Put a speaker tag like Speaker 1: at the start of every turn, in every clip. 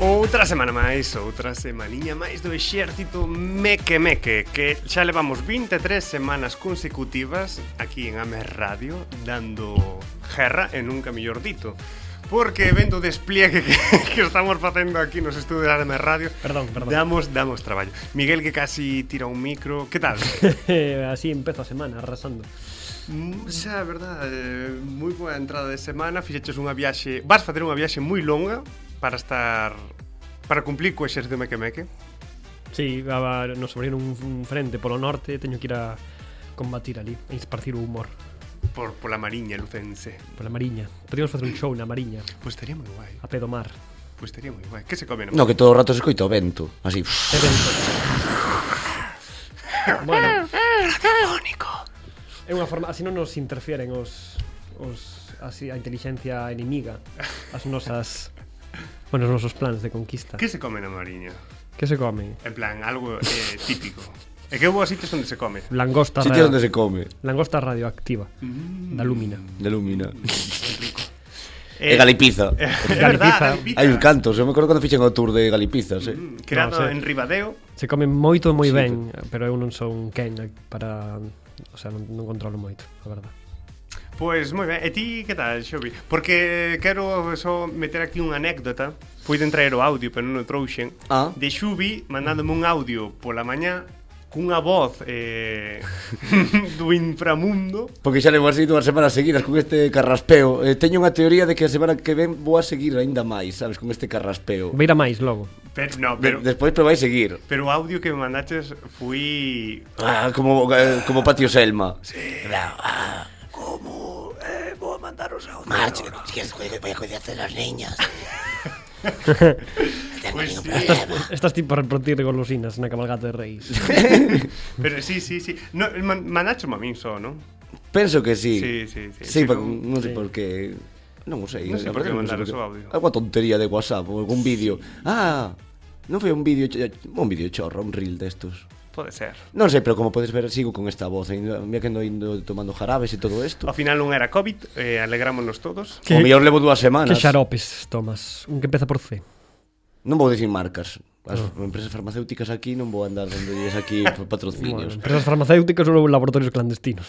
Speaker 1: Outra semana máis, outra semaniña máis do exército Meque Meque Que xa levamos 23 semanas consecutivas aquí en Ames Radio Dando gerra e nunca mellor dito Porque vendo o despliegue que, que estamos facendo aquí nos estudios de Ames Radio
Speaker 2: Perdón, perdón.
Speaker 1: Damos, damos traballo Miguel que casi tira un micro Que tal?
Speaker 2: Eh, así empeza a semana, arrasando.
Speaker 1: Mm, Xa, é verdade, moi boa entrada de semana, fixeches unha viaxe, vas facer unha viaxe moi longa para estar para cumplir co exército meque meque.
Speaker 2: Sí, a, a, nos abrieron un, un frente polo norte, teño que ir a combatir ali, a esparcir o humor
Speaker 1: por pola Mariña lucense.
Speaker 2: pola Mariña. Podíamos facer un show na Mariña,
Speaker 1: Pois estaría moi guai.
Speaker 2: a pedo mar.
Speaker 1: Pois estaría moi guai. Que se come?
Speaker 3: No, que todo o rato se escoita o vento Así
Speaker 2: É vento. bueno,
Speaker 1: radiofónico.
Speaker 2: é unha forma, así non nos interfieren os os así a inteligencia inimiga, as nosas bueno, os nosos plans de conquista.
Speaker 1: Que se come na Mariña?
Speaker 2: Que se come?
Speaker 1: En plan algo eh, típico. E que houbo sitios onde se come.
Speaker 2: Langosta ra-
Speaker 3: Sitio onde se Mm. come
Speaker 2: Langosta radioactiva
Speaker 3: Eh,
Speaker 2: da lúmina.
Speaker 3: De lumina
Speaker 1: Eh,
Speaker 3: E Galipiza
Speaker 1: É verdade, Galipiza.
Speaker 3: Hai uns cantos Eu me acordo cando fixen o tour de Galipiza eh?
Speaker 1: Mm, Creado no,
Speaker 2: No, sí.
Speaker 1: en Ribadeo.
Speaker 2: Se come moito e moi
Speaker 3: Sí,
Speaker 2: ben, pero eu non son quen eh, para, o sea, non, non controlo moito, a verdade.
Speaker 1: Pois moi ben, e ti que tal, Xobi? Porque quero só meter aquí unha anécdota Puiden traer o audio, pero non o trouxen
Speaker 3: Ah.
Speaker 1: De Xubi mandándome un audio pola mañá Cunha voz eh, do inframundo
Speaker 3: Porque xa levo así dúas semanas seguidas con este carraspeo eh, Teño unha teoría de que a semana que ven vou a seguir aínda máis, sabes, con este carraspeo
Speaker 2: Veira máis logo.
Speaker 1: Pero, no,
Speaker 3: Pero...
Speaker 1: pero,
Speaker 3: Despois probáis seguir
Speaker 1: pero o audio que me mandaches foi
Speaker 3: Ah, como, eh, como Patio Selma sí.
Speaker 1: Vou Eh, mandaros audio
Speaker 4: March, tienes que voy a cuidarte de las niñas.
Speaker 1: Pois pues sí.
Speaker 2: Estás tipo a repartir golosinas na cabalgata de reis.
Speaker 1: Pero sí, sí, sí no, man, Manacho mamín só, non?
Speaker 3: Penso que sí
Speaker 1: Sí, sí, sí.
Speaker 3: sí,
Speaker 1: Pero-
Speaker 3: pero non sei
Speaker 2: sí.
Speaker 3: por que Non o sei
Speaker 1: Non sei
Speaker 3: a
Speaker 1: por que
Speaker 3: verdade non
Speaker 1: mandar
Speaker 3: sei
Speaker 1: o
Speaker 3: por
Speaker 1: seu audio.
Speaker 3: que. Alguma tontería de Whatsapp ou algún vídeo Ah, non foi un vídeo ch- Un vídeo chorro, un reel destos
Speaker 1: Pode ser
Speaker 3: Non sei, pero como podes ver sigo con esta voz Ainda mira que ando indo tomando jarabes e todo isto
Speaker 1: Ao final non era COVID, eh, alegrámonos todos
Speaker 3: O mellor levo dúas
Speaker 2: que
Speaker 3: semanas
Speaker 2: xaropes tomas? Un que empeza por C.
Speaker 3: Non vou dicir marcas As
Speaker 2: Ah.
Speaker 3: empresas farmacéuticas aquí non vou andar dándoles aquí pa-
Speaker 2: Bueno,
Speaker 3: patrocinios
Speaker 2: empresas farmacéuticas ou laboratorios clandestinos.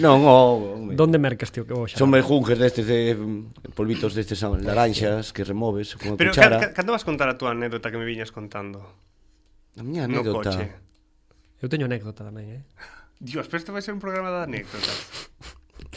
Speaker 3: Non, oh, home.
Speaker 2: Donde mercas, tío, que o
Speaker 3: Son
Speaker 2: xarope?
Speaker 3: mejunjes destes de mm, polvitos destes a- laranxas que removes con a
Speaker 1: Pero
Speaker 3: cuchara.
Speaker 1: ca- ca- cando vas contar a túa anécdota que me viñas contando?
Speaker 3: A miña
Speaker 1: No
Speaker 3: anécdota.
Speaker 1: coche
Speaker 2: Eu teño anécdota tamén, eh?
Speaker 1: Dios, pero isto vai ser un programa de anécdotas.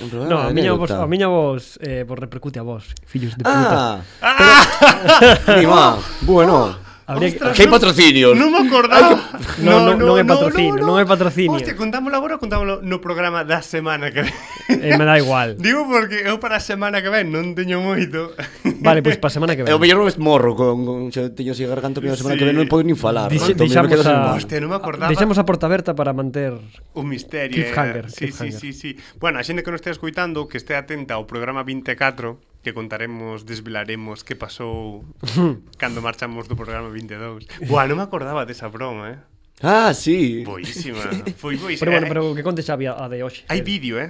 Speaker 3: Un programa
Speaker 2: No, a
Speaker 3: de
Speaker 2: miña vos, a
Speaker 3: Ah, anécdota.
Speaker 2: miña vos, eh, vos repercute a vos, fillos de puta.
Speaker 3: Ah,
Speaker 1: Ah.
Speaker 3: pero... Ni má. Bueno,
Speaker 2: Habría que...
Speaker 3: que hai patrocinios.
Speaker 1: non me acordaba.
Speaker 2: No, no, non é patrocinio, non é patrocinio.
Speaker 1: Hostia, contámoslo agora ou contámoslo no programa da semana que ven?
Speaker 2: Eh, me da igual.
Speaker 1: Digo porque eu para a semana que ven non teño moito.
Speaker 2: Vale, pois pues, pa semana que ven.
Speaker 3: E o mellor non es morro con, con xa teño así a garganta a miña
Speaker 1: Sí.
Speaker 3: semana que ven non podo nin falar.
Speaker 2: Dixe-
Speaker 3: Entón,
Speaker 2: dixamos
Speaker 3: me quedo sen
Speaker 2: a-
Speaker 3: voz.
Speaker 1: Hostia, non me acordaba.
Speaker 2: Deixamos a porta aberta para manter...
Speaker 1: Un misterio.
Speaker 2: Cliffhanger,
Speaker 1: eh. Sí, sí,
Speaker 2: cliffhanger.
Speaker 1: sí, sí. Bueno, a xente que non estea escoitando, que estea atenta ao programa 24, que contaremos, desvelaremos que pasou cando marchamos do programa 22. Buah, non me acordaba desa broma, eh.
Speaker 3: Ah, sí.
Speaker 1: Boísima. Foi boísima.
Speaker 2: Pero bueno, pero que conte xa a de hoxe.
Speaker 1: eh. Hai vídeo, eh?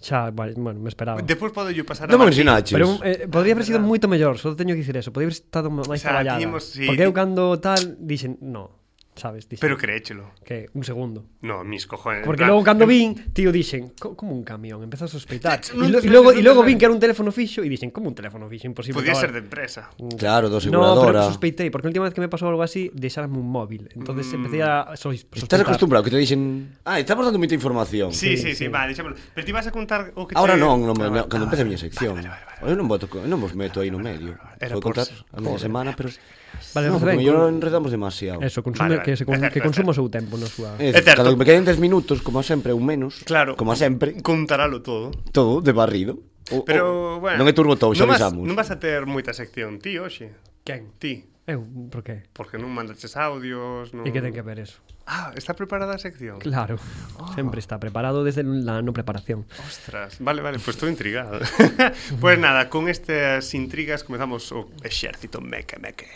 Speaker 2: Xa, vale, bueno, me esperaba.
Speaker 1: Despois podo yo pasar
Speaker 3: Non me
Speaker 1: Martín.
Speaker 3: ensinaches.
Speaker 2: Pero eh, podría haber sido moito mellor, só teño que dicir eso, podría haber estado máis
Speaker 1: O sea,
Speaker 2: traballada.
Speaker 1: tiñemos- sí,
Speaker 2: Porque eu
Speaker 1: ti-
Speaker 2: cando tal dixen, no, sabes, dixen
Speaker 1: Pero creéchelo.
Speaker 2: que un segundo.
Speaker 1: No, mis cojones.
Speaker 2: Porque
Speaker 1: En plan,
Speaker 2: logo cando
Speaker 1: em-
Speaker 2: vin, tío, dixen, "Co- como un camión, empezas a sospeitar.
Speaker 1: Chacho,
Speaker 2: E
Speaker 1: non
Speaker 2: lo-
Speaker 1: te-
Speaker 2: e logo
Speaker 1: non
Speaker 2: e
Speaker 1: te-
Speaker 2: logo vin que era un teléfono fixo e dixen, como un teléfono fixo, imposible.
Speaker 1: Podía ser
Speaker 2: cabal".
Speaker 1: de empresa.
Speaker 3: Claro,
Speaker 2: No,
Speaker 3: do
Speaker 2: pero
Speaker 3: aseguradora.
Speaker 2: sospeitei, porque a última vez que me pasou algo así, deixarame un móvil.
Speaker 1: Mm.
Speaker 2: Entonces empecé a sois-
Speaker 3: Estás
Speaker 2: sospeitar.
Speaker 3: acostumbrado que te dixen, "Ah, estamos dando moita información."
Speaker 1: Sí, sí, sí,
Speaker 2: sí.
Speaker 1: vale, deixámoslo. Pero ti vas a contar o que
Speaker 3: Ahora
Speaker 1: te...
Speaker 3: non, non,
Speaker 1: Ah,
Speaker 3: me, me,
Speaker 1: vale,
Speaker 3: cando
Speaker 1: ah,
Speaker 3: empece a
Speaker 1: vale,
Speaker 3: miña sección.
Speaker 1: Vale, vale, vale.
Speaker 3: Eu non voto, eu non vos meto aí no medio.
Speaker 1: Era
Speaker 3: Vou
Speaker 1: por
Speaker 3: contar
Speaker 1: ser-
Speaker 3: a miña semana, pero
Speaker 2: Vale,
Speaker 3: no,
Speaker 2: no,
Speaker 3: porque
Speaker 2: ben,
Speaker 3: mellor enredamos demasiado.
Speaker 2: Eso,
Speaker 1: Vale,
Speaker 2: consume,
Speaker 1: vale.
Speaker 2: que, se, con-
Speaker 1: É certo,
Speaker 2: que
Speaker 1: é
Speaker 2: consuma o seu tempo na súa...
Speaker 1: É
Speaker 3: É dicir,
Speaker 1: certo.
Speaker 3: cada que me queden 10 minutos, como sempre, un menos.
Speaker 1: Claro.
Speaker 3: Como sempre,
Speaker 1: Contaralo todo.
Speaker 3: todo de barrido. O,
Speaker 1: Pero, bueno...
Speaker 3: non é turbo tou, xa
Speaker 1: non vas-
Speaker 3: avisamos.
Speaker 1: Non vas a ter moita sección, ti, hoxe.
Speaker 2: Quen?
Speaker 1: Ti.
Speaker 2: Eu, por qué?
Speaker 1: Porque non mandaches audios, non...
Speaker 2: E que ten que ver eso?
Speaker 1: Ah, está preparada a sección.
Speaker 2: Claro,
Speaker 1: Ah.
Speaker 2: siempre está preparado desde la no preparación.
Speaker 1: Ostras, vale, vale, pues estou intrigado. pues nada, con estas intrigas comezamos o exército meque meque.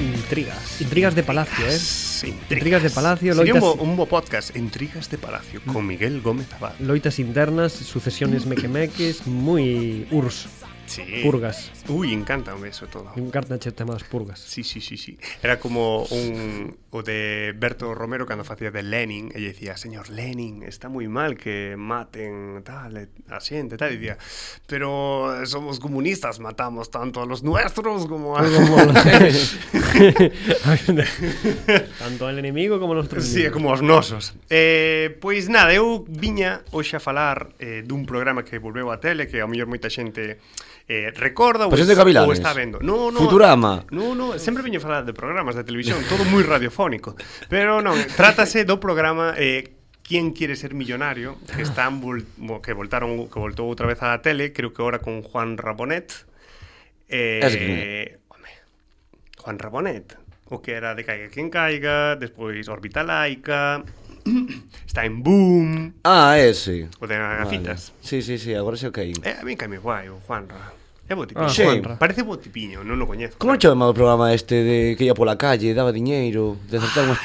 Speaker 2: Intrigas. Intrigas de palacio, ¿eh?
Speaker 1: Intrigas
Speaker 2: Intrigas de palacio,
Speaker 1: Sería un bo,
Speaker 2: loitas-
Speaker 1: un bo podcast, Intrigas de Palacio, con Miguel Gómez Abad.
Speaker 2: Loitas internas, sucesiones mequemeques, muy urs,
Speaker 1: Sí.
Speaker 2: purgas.
Speaker 1: Ui, encántame eso todo.
Speaker 2: Me encantan che temas purgas.
Speaker 1: Sí, sí, sí, sí. Era como un o de Berto Romero cando facía de Lenin, e lle dicía, "Señor Lenin, está moi mal que maten tal e- a xente", tal, e dicía, "Pero somos comunistas, matamos tanto a los nuestros como a
Speaker 2: Tanto al enemigo como los
Speaker 1: Sí, é como os nosos. Eh, pois nada, eu viña hoxe a falar eh, dun programa que volveu á tele que ao mellor moita xente eh, recorda ou,
Speaker 3: Pasión de Gavilanes.
Speaker 1: ou está vendo. No, no,
Speaker 3: Futurama.
Speaker 1: No, no, sempre viño a falar de programas de televisión, todo moi radiofónico. Pero non, trátase do programa eh, Quién quiere ser millonario que están vol mo- que voltaron que voltou outra vez á tele, creo que ahora con Juan Rabonet. Eh,
Speaker 3: Es que-
Speaker 1: home, Juan Rabonet, o que era de Caiga quen caiga, despois Órbita laica, está en Boom,
Speaker 3: Ah, ese.
Speaker 1: o de Gafitas.
Speaker 3: Sí, sí, sí, agora xa caín.
Speaker 1: Vale. Eh, a mí caime guai o Juanra. É botipiño.
Speaker 2: Ah,
Speaker 1: Ah,
Speaker 3: Sí.
Speaker 2: Juanra.
Speaker 1: Parece botipiño, non o coñezo.
Speaker 3: Como non chamaba o programa este de que ia pola calle, daba diñeiro, de acertar unhas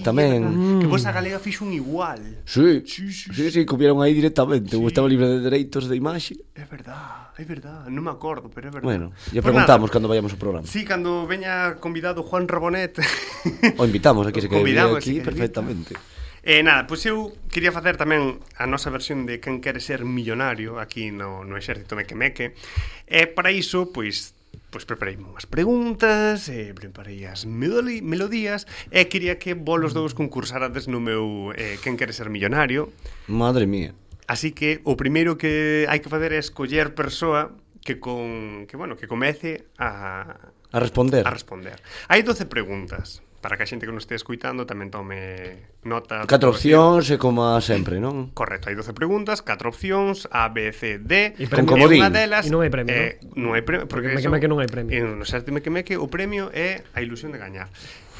Speaker 1: Ah, Sí, é
Speaker 3: tamén? Mm.
Speaker 1: verdad. Que vos a galega fixo un igual.
Speaker 3: Sí,
Speaker 1: Sí, sí,
Speaker 3: sí, sí, copiaron aí directamente, sí.
Speaker 1: Sí.
Speaker 3: estaba libre de dereitos de imaxe.
Speaker 1: É verdad, é verdad, non me acordo, pero é verdad.
Speaker 3: Bueno, lle
Speaker 1: Pois nada,
Speaker 3: preguntamos cando vayamos ao programa.
Speaker 1: Sí, cando veña convidado Juan Rabonet.
Speaker 3: O invitamos aquí, se que
Speaker 1: Convidamos,
Speaker 3: vive aquí
Speaker 1: se que vive.
Speaker 3: perfectamente.
Speaker 1: Eh, nada, pois eu quería facer tamén a nosa versión de quen quere ser millonario aquí no, no exército meque-meque. E para iso, pois, pois preparei unhas preguntas, eh, preparei as melodi- melodías e quería que vos os dous concursarades no meu eh, quen quere ser millonario.
Speaker 3: Madre mía.
Speaker 1: Así que o primeiro que hai que facer é escoller persoa que con que bueno, que comece a
Speaker 3: A responder.
Speaker 1: a responder. Hai 12 preguntas para que a xente que nos este escoitando tamén tome nota.
Speaker 3: Catro
Speaker 1: Por decir,
Speaker 3: opcións e como sempre, non?
Speaker 1: Correcto, hai 12 preguntas, 4 opcións, A, B, C, D. E
Speaker 2: E premio.
Speaker 3: Con comodín.
Speaker 1: unha delas,
Speaker 2: E non hai premio,
Speaker 1: eh, non? hai premio, porque
Speaker 2: Meque,
Speaker 1: eso-
Speaker 2: meque, non hai premio.
Speaker 1: En no xarte meque meque, o premio é a ilusión de gañar.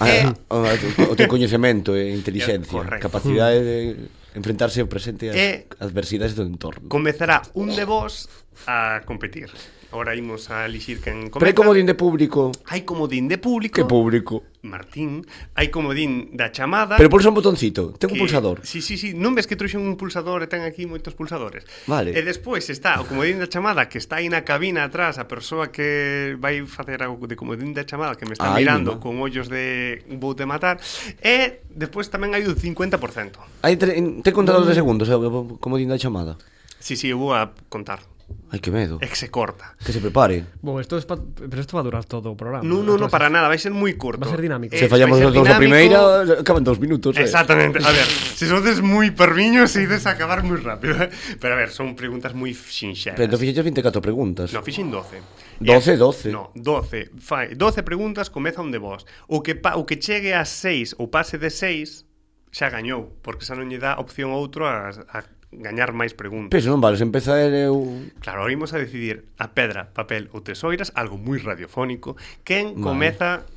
Speaker 1: Eh,
Speaker 3: Ah, o, o teu coñecemento e inteligencia,
Speaker 1: Correcto.
Speaker 3: capacidade de enfrentarse ao presente e ás
Speaker 1: E-
Speaker 3: adversidades do entorno.
Speaker 1: comezará un de vos a competir. Ahora imos a elixir quen comeza.
Speaker 3: Pero hai comodín de público.
Speaker 1: Hai comodín de público.
Speaker 3: Que público?
Speaker 1: Martín, hai comodín da chamada.
Speaker 3: Pero pulsa un botoncito, ten
Speaker 1: que-
Speaker 3: un pulsador.
Speaker 1: Sí, sí, sí, non ves que trouxen un pulsador e ten aquí moitos pulsadores.
Speaker 3: Vale.
Speaker 1: E despois está o comodín da chamada que está aí na cabina atrás, a persoa que vai facer algo de comodín da chamada que me está
Speaker 3: Ai,
Speaker 1: mirando
Speaker 3: mamá.
Speaker 1: con ollos de vou te matar e despois tamén hai o 50%.
Speaker 3: Hai tre- en- ten contador de segundos, eh, como din da chamada.
Speaker 1: Sí, sí, eu vou a contar.
Speaker 3: Ai, que medo.
Speaker 1: E que se corta.
Speaker 3: Que se prepare.
Speaker 2: Bueno, esto es pa- pero esto va a durar todo el programa.
Speaker 1: Non, non, non, para nada, vai ser moi corto.
Speaker 2: Ah, Va a ser dinámico.
Speaker 1: Eh,
Speaker 3: Se fallamos
Speaker 1: vai ser
Speaker 3: os dous a
Speaker 1: dinámico.
Speaker 3: primeira, acaban dos minutos. eh.
Speaker 1: Exactamente. A ver, se sodes moi perviños ides a acabar moi rápido. eh. Pero a ver, son preguntas moi sinxeras.
Speaker 3: Pero entón fixeches 24 preguntas.
Speaker 1: No, fixen 12.
Speaker 3: 12, 12.
Speaker 1: No, 12. Fai 12 preguntas, comeza un de vos. O que pa, o que chegue a 6 ou pase de 6 xa gañou, porque xa non lle dá opción a outro a, a gañar máis preguntas.
Speaker 3: Pero se non vale, se empeza el eu...
Speaker 1: Claro, ahora imos a decidir a pedra, papel ou tesoiras, algo moi radiofónico, quen
Speaker 3: Vale.
Speaker 1: comeza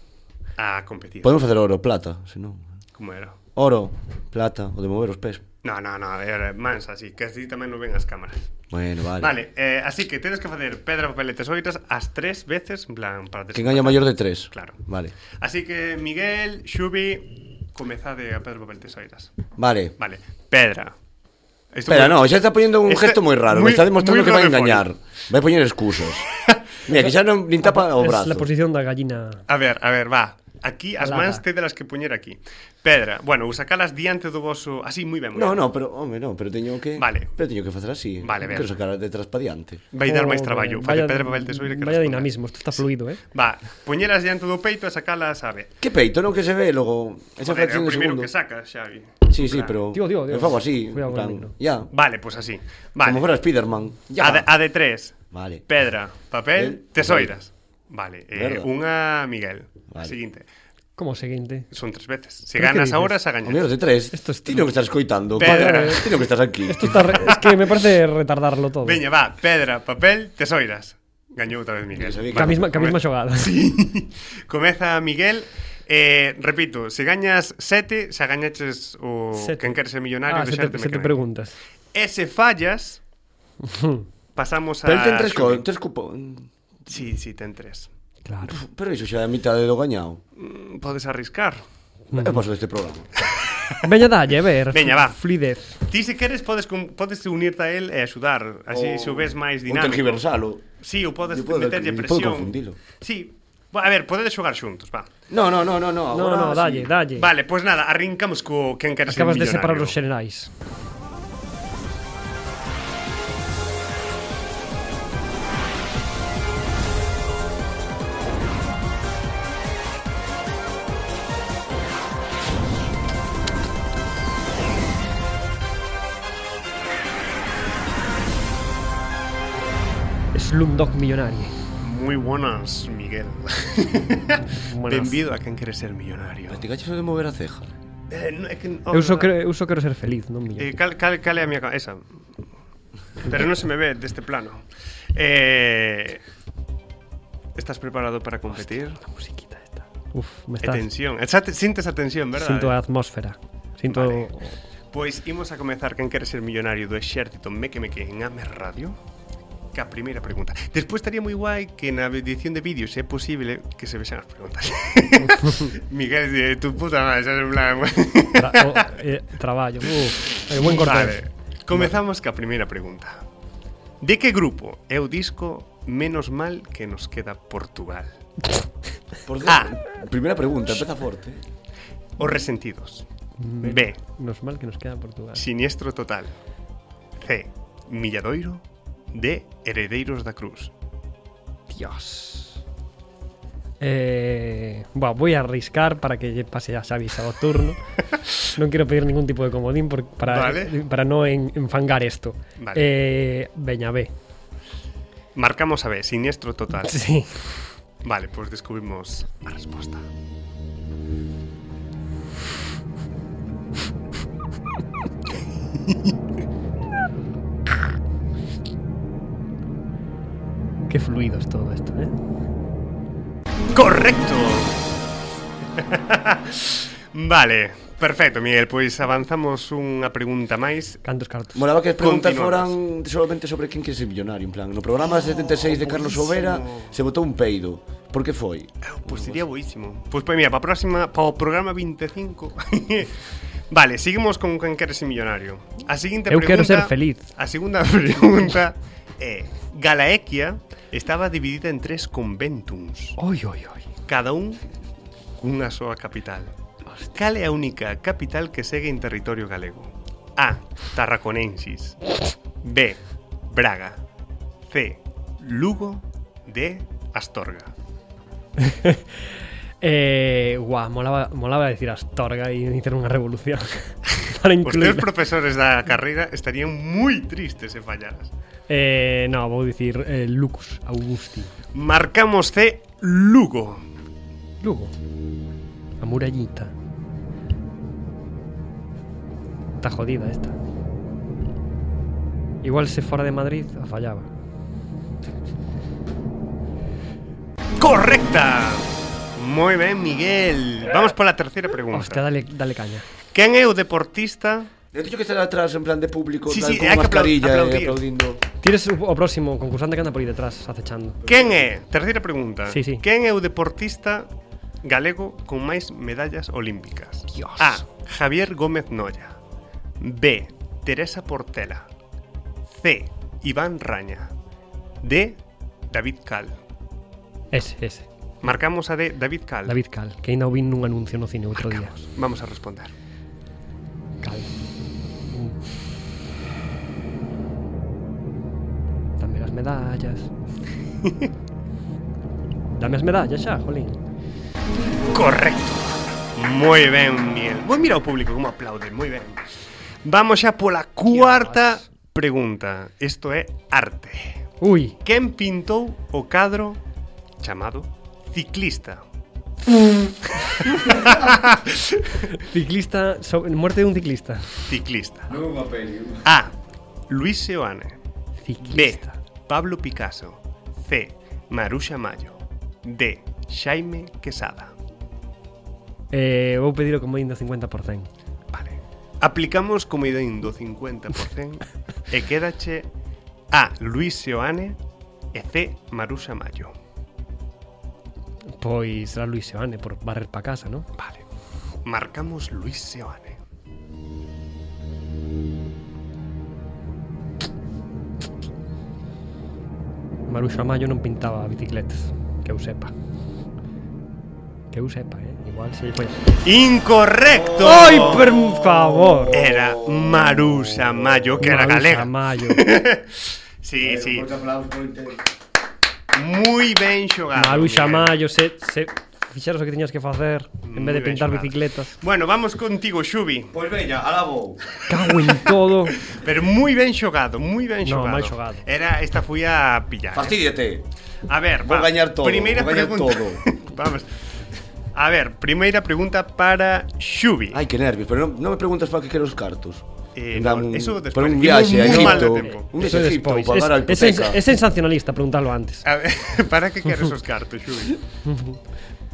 Speaker 1: a competir.
Speaker 3: Podemos facer oro, plata, se non.
Speaker 1: Como era?
Speaker 3: Oro, plata, o de mover os pés.
Speaker 1: No, no, no, era mansa, así que así tamén non ven as cámaras.
Speaker 3: Bueno, vale.
Speaker 1: Vale, eh, así que tedes que facer pedra, papel e tesoiras as tres veces, en plan, para
Speaker 3: Que
Speaker 1: desempatar.
Speaker 3: gaña maior de tres.
Speaker 1: Claro.
Speaker 3: Vale.
Speaker 1: Así que, Miguel, Xubi, comezade a pedra, papel, tesoiras.
Speaker 3: Vale.
Speaker 1: Vale, pedra. Isto
Speaker 3: Espera,
Speaker 1: moi-
Speaker 3: no, xa está poñendo un
Speaker 1: Este-
Speaker 3: gesto moi raro,
Speaker 1: moi-
Speaker 3: me está demostrando
Speaker 1: moi
Speaker 3: que vai
Speaker 1: radiofónico.
Speaker 3: engañar. Vai poñer excusas. Mira, que xa non nin tapa o
Speaker 2: Es
Speaker 3: brazo.
Speaker 2: la posición da gallina.
Speaker 1: A ver, a ver, va. Aquí as
Speaker 2: Lava.
Speaker 1: mans tedelas que poñer aquí. Pedra. Bueno, ou sacalas diante do voso, así moi ben. moi ben.
Speaker 3: No, no, pero, home, no, pero teño que...
Speaker 1: Vale.
Speaker 3: Pero teño que facer así.
Speaker 1: Vale, ben.
Speaker 3: Quero sacar detrás pa diante.
Speaker 1: Vai dar máis
Speaker 2: Joder,
Speaker 1: traballo.
Speaker 2: Oh,
Speaker 1: Falle
Speaker 2: vaya-
Speaker 1: pedra, papel, tesoira que
Speaker 2: Vaya
Speaker 1: responder.
Speaker 2: dinamismo, esto está fluido, eh.
Speaker 1: Va, poñelas diante do peito e sacalas a ver.
Speaker 3: Que peito, non que se ve logo esa
Speaker 1: Joder, é
Speaker 3: fracción
Speaker 1: o
Speaker 3: de
Speaker 1: primeiro
Speaker 3: segundo.
Speaker 1: que sacas, Xavi.
Speaker 3: Sí,
Speaker 1: Claro.
Speaker 3: sí, pero
Speaker 2: Tío, tío, tío.
Speaker 3: eu fago así,
Speaker 2: Cuidado con
Speaker 3: en
Speaker 2: el
Speaker 3: plan,
Speaker 2: micro.
Speaker 3: ya,
Speaker 1: Vale, pois pues así.
Speaker 3: como
Speaker 1: Vale.
Speaker 3: fora Spiderman. Ya.
Speaker 1: A de, a de tres.
Speaker 3: Vale.
Speaker 1: Pedra, papel,
Speaker 3: El-
Speaker 1: tesoiras. Vale, eh,
Speaker 3: Verda.
Speaker 1: unha Miguel.
Speaker 3: Vale.
Speaker 1: Vale. Seguinte.
Speaker 2: Como o seguinte.
Speaker 1: Son tres veces. Se
Speaker 2: Pero que
Speaker 1: ganas
Speaker 2: dices?
Speaker 1: ahora, se
Speaker 3: Ao menos
Speaker 1: gañas.
Speaker 3: de tres.
Speaker 2: Esto es-
Speaker 3: Ti non estás escoitando,
Speaker 1: Pero-
Speaker 3: padre. Ti non estás aquí.
Speaker 2: Esto está re- es que me parece retardarlo todo.
Speaker 1: Veña, va, pedra, papel, tesoiras. Gañou outra vez Miguel.
Speaker 3: Eu sabía que-
Speaker 2: Que a misma, que a
Speaker 1: come-
Speaker 2: misma xogada.
Speaker 1: Comeza Miguel. Eh, repito, se gañas sete, se gañaches o
Speaker 2: Sete.
Speaker 1: quen quer ser millonario,
Speaker 2: Ah,
Speaker 1: que
Speaker 2: se
Speaker 1: xa te
Speaker 2: te,
Speaker 1: me
Speaker 2: se te
Speaker 1: queren.
Speaker 2: preguntas.
Speaker 1: E se fallas, pasamos a...
Speaker 3: Pero ten tres, co
Speaker 1: Xovi.
Speaker 3: tres cupón.
Speaker 1: Sí, sí, ten tres.
Speaker 2: Claro.
Speaker 3: Pero iso xa é a mitade do gañado.
Speaker 1: Mm, Podes arriscar.
Speaker 3: É paso deste este programa.
Speaker 2: Veña, dalle, a ver.
Speaker 1: Veña, va.
Speaker 2: Fluidez.
Speaker 1: Ti se queres podes com- podes unirte a él e axudar, así se o ves máis
Speaker 3: Oh, Un
Speaker 1: dinámico.
Speaker 3: tergiversalo.
Speaker 1: Sí, o podes
Speaker 3: Yo puedo-
Speaker 1: meterlle
Speaker 3: yo puedo
Speaker 1: presión.
Speaker 3: confundilo.
Speaker 1: Sí. Bo, A ver, podedes xogar xuntos, va.
Speaker 3: No, no, no, no, no.
Speaker 2: No,
Speaker 3: Agora
Speaker 2: no, dalle, dalle.
Speaker 1: Vale, pois pues nada, arrincamos co quen quer ser
Speaker 2: Acabas de
Speaker 1: millonario.
Speaker 2: separar os xenerais. Slumdog Millonario.
Speaker 1: Moi buenas, Miguel.
Speaker 2: Buenas.
Speaker 1: Benvido a quen quere ser millonario.
Speaker 3: Pero Te gaches de mover a ceja.
Speaker 1: Eh, no, é que, oh,
Speaker 2: Eu só
Speaker 1: verdad.
Speaker 2: quero, eu só quero ser feliz, non
Speaker 1: Eh,
Speaker 2: millonario.
Speaker 1: cal, cal, cal é a miña ca- esa. Pero non se me ve deste plano. Eh, estás preparado para competir?
Speaker 2: A musiquita esta. Uf, me
Speaker 1: E
Speaker 2: estás...
Speaker 1: tensión. E xa te- Sintes a tensión, verdade?
Speaker 2: Sinto a atmósfera. Sinto
Speaker 1: Vale. Pois imos a comezar quen quere ser millonario do exército Meque Meque en Ames Radio Ca primeira pregunta Despois estaría moi guai que na edición de vídeo se é posible que se vexan as preguntas Miguel, eh, tu puta madre, xa en plan
Speaker 2: tra o, eh, traballo. Uf, eh, buen corte.
Speaker 1: Vale, comezamos ca primeira pregunta De que grupo é o disco Menos mal que nos queda Portugal?
Speaker 3: Por ce-
Speaker 1: Ah.
Speaker 3: Primeira pregunta, empeza forte.
Speaker 1: Os Resentidos
Speaker 2: Menos-
Speaker 1: B.
Speaker 2: Menos mal que nos queda Portugal.
Speaker 1: Siniestro Total C. Milladoiro D. Heredeiros da Cruz
Speaker 2: Dios. Eh, bueno, voy a arriscar para que lle pase a Xavi sábado turno. no quiero pedir ningún tipo de comodín por- para,
Speaker 1: Vale.
Speaker 2: para no en- enfangar esto.
Speaker 1: Vale.
Speaker 2: Eh, Veña B.
Speaker 1: Marcamos a B, siniestro total.
Speaker 2: Sí.
Speaker 1: Vale, pois descubrimos a resposta.
Speaker 2: Qué fluido es todo esto, ¿eh?
Speaker 1: Correcto. vale, perfecto, Miguel, pois avanzamos unha pregunta máis.
Speaker 2: Cantos cartos.
Speaker 3: Molaba que as preguntas
Speaker 1: Continuamos.
Speaker 3: foran solamente sobre quen quer ser millonario, en plan, no programa 76 de Carlos
Speaker 1: buenísimo.
Speaker 3: Overa se botou un peido. Por que foi?
Speaker 1: Pois Pues sería boísimo. Pois pois mira, para próxima, para o programa 25. vale, seguimos con quen quere ser millonario. A seguinte
Speaker 2: Eu
Speaker 1: pregunta
Speaker 2: quero ser feliz.
Speaker 1: A segunda pregunta é Galaequia estaba dividida en tres conventuns.
Speaker 2: Oy, oy, oy.
Speaker 1: cada un cunha soa capital. Cal é a única capital que segue en territorio galego? A. Tarraconensis B. Braga C. Lugo D. Astorga
Speaker 2: Eh, guau, molaba, molaba decir Astorga y hacer una revolución. para
Speaker 1: Os teus
Speaker 2: incluir.
Speaker 1: profesores da carreira estarían moi tristes se fallaras.
Speaker 2: Eh, no, voy a decir eh, Lucus Augusti.
Speaker 1: Marcamos C. Lugo
Speaker 2: Lugo. A murallita. Está jodida esta. Igual se fuera de Madrid, a fallaba.
Speaker 1: Correcta! Moi ben, Miguel. Vamos pola terceira
Speaker 2: Hostia,
Speaker 1: pregunta.
Speaker 2: dale, dale caña.
Speaker 1: Quen é o deportista?
Speaker 3: Eu teño que estar atrás en plan de público,
Speaker 1: Sí,
Speaker 3: sí, tal,
Speaker 1: sí,
Speaker 3: sí,
Speaker 1: hai
Speaker 3: con unha
Speaker 1: que aplau-
Speaker 3: mascarilla
Speaker 1: aplaudir.
Speaker 3: e aplaudindo.
Speaker 2: Tienes o o próximo concursante que anda por ahí detrás, acechando.
Speaker 1: Quen é? Terceira pregunta.
Speaker 2: Sí, sí.
Speaker 1: Quen é o deportista galego con máis medallas olímpicas?
Speaker 2: Dios.
Speaker 1: A. Javier Gómez Noya. B. Teresa Portela. C. Iván Raña. D. David Cal.
Speaker 2: Ese, ese.
Speaker 1: Marcamos a D. David Cal.
Speaker 2: David Cal, que ainda vi un anuncio no cine outro día.
Speaker 1: Marcamos. Vamos a responder.
Speaker 2: Cal. Dame las medallas. Dame las medallas ya, jolín.
Speaker 1: Correcto. Moi ben, Miguel. Vou mira o público como aplaude, moi ben. Vamos xa pola cuarta pregunta. Isto é arte.
Speaker 2: Uy,
Speaker 1: Quen pintou o cadro chamado Ciclista?
Speaker 2: Ciclista, so- muerte de un ciclista.
Speaker 1: Ciclista.
Speaker 3: Non unha peli.
Speaker 1: A. Luis Seoane. B.
Speaker 2: Ciclista.
Speaker 1: Pablo Picasso. C. Marusha Mayo. D. Jaime Quesada.
Speaker 2: Eh, vou pedir o comodín do 50%.
Speaker 1: Vale. Aplicamos comodín do 50% e quédache A. Luis Seoane e C. Marusha Mayo.
Speaker 2: Pois será Luis Seoane por barrer pa casa, ¿no?
Speaker 1: Vale. Marcamos Luis Seoane.
Speaker 2: Maruxo Amayo non pintaba bicicletas, que eu sepa. Que eu sepa, eh? Igual se foi.
Speaker 1: Incorrecto.
Speaker 2: Ai, per favor.
Speaker 1: Era Marusha Mayo, Eh, que era
Speaker 2: Maruxa
Speaker 1: galega.
Speaker 2: Amayo.
Speaker 1: Sí, sí.
Speaker 3: Eh, aplauso por inteiro.
Speaker 1: Moi ben xogado.
Speaker 2: Maruxa
Speaker 1: Miguel.
Speaker 2: Amayo, se, se fixeros o que tiñas que facer en vez
Speaker 1: Moi
Speaker 2: de
Speaker 1: ben
Speaker 2: pintar
Speaker 1: xogado.
Speaker 2: bicicletas.
Speaker 1: Bueno, vamos contigo, Xubi.
Speaker 3: Pois veña, alá vou.
Speaker 2: Cago en todo.
Speaker 1: Pero moi ben xogado, moi ben
Speaker 2: No,
Speaker 1: xogado.
Speaker 2: mal xogado.
Speaker 1: Era esta foi a pillar. eh.
Speaker 3: Facídiate.
Speaker 1: A ver,
Speaker 3: Vou
Speaker 1: va,
Speaker 3: gañar todo,
Speaker 1: Primeira
Speaker 3: vou gañar
Speaker 1: pregunta.
Speaker 3: todo.
Speaker 1: vamos. A ver, primeira pregunta para Xubi.
Speaker 3: Ai, que nervios, pero non, non me preguntas para que quero os cartos.
Speaker 1: Eh,
Speaker 3: En plan,
Speaker 1: no, eso despois.
Speaker 3: Para un
Speaker 1: Imos
Speaker 3: viaxe a
Speaker 1: moi mal de
Speaker 3: Egipto.
Speaker 1: tempo.
Speaker 3: Un viaxe a Egipto
Speaker 2: despois.
Speaker 3: para pagar a
Speaker 2: Es, es,
Speaker 3: hipoteca.
Speaker 2: es sensacionalista preguntarlo antes.
Speaker 1: A ver, para que queres os cartos, Xubi?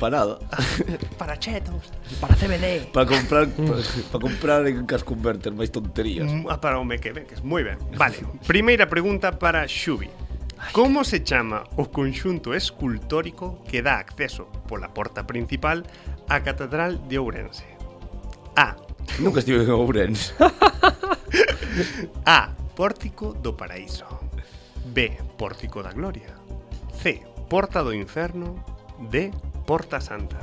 Speaker 3: Para nada.
Speaker 1: Para chetos.
Speaker 2: Para CBD.
Speaker 3: Para comprar para, para comprar en Cas Converter máis tonterías.
Speaker 1: Mm, ah, Para o Mequebeques, moi ben. Vale, primeira pregunta para Xubi. Como se chama o conxunto escultórico que dá acceso pola porta principal á Catedral de Ourense? A.
Speaker 3: Nunca estive en Ourense.
Speaker 1: A. Pórtico do Paraíso. B. Pórtico da Gloria. C. Porta do Inferno. D. Porta Santa.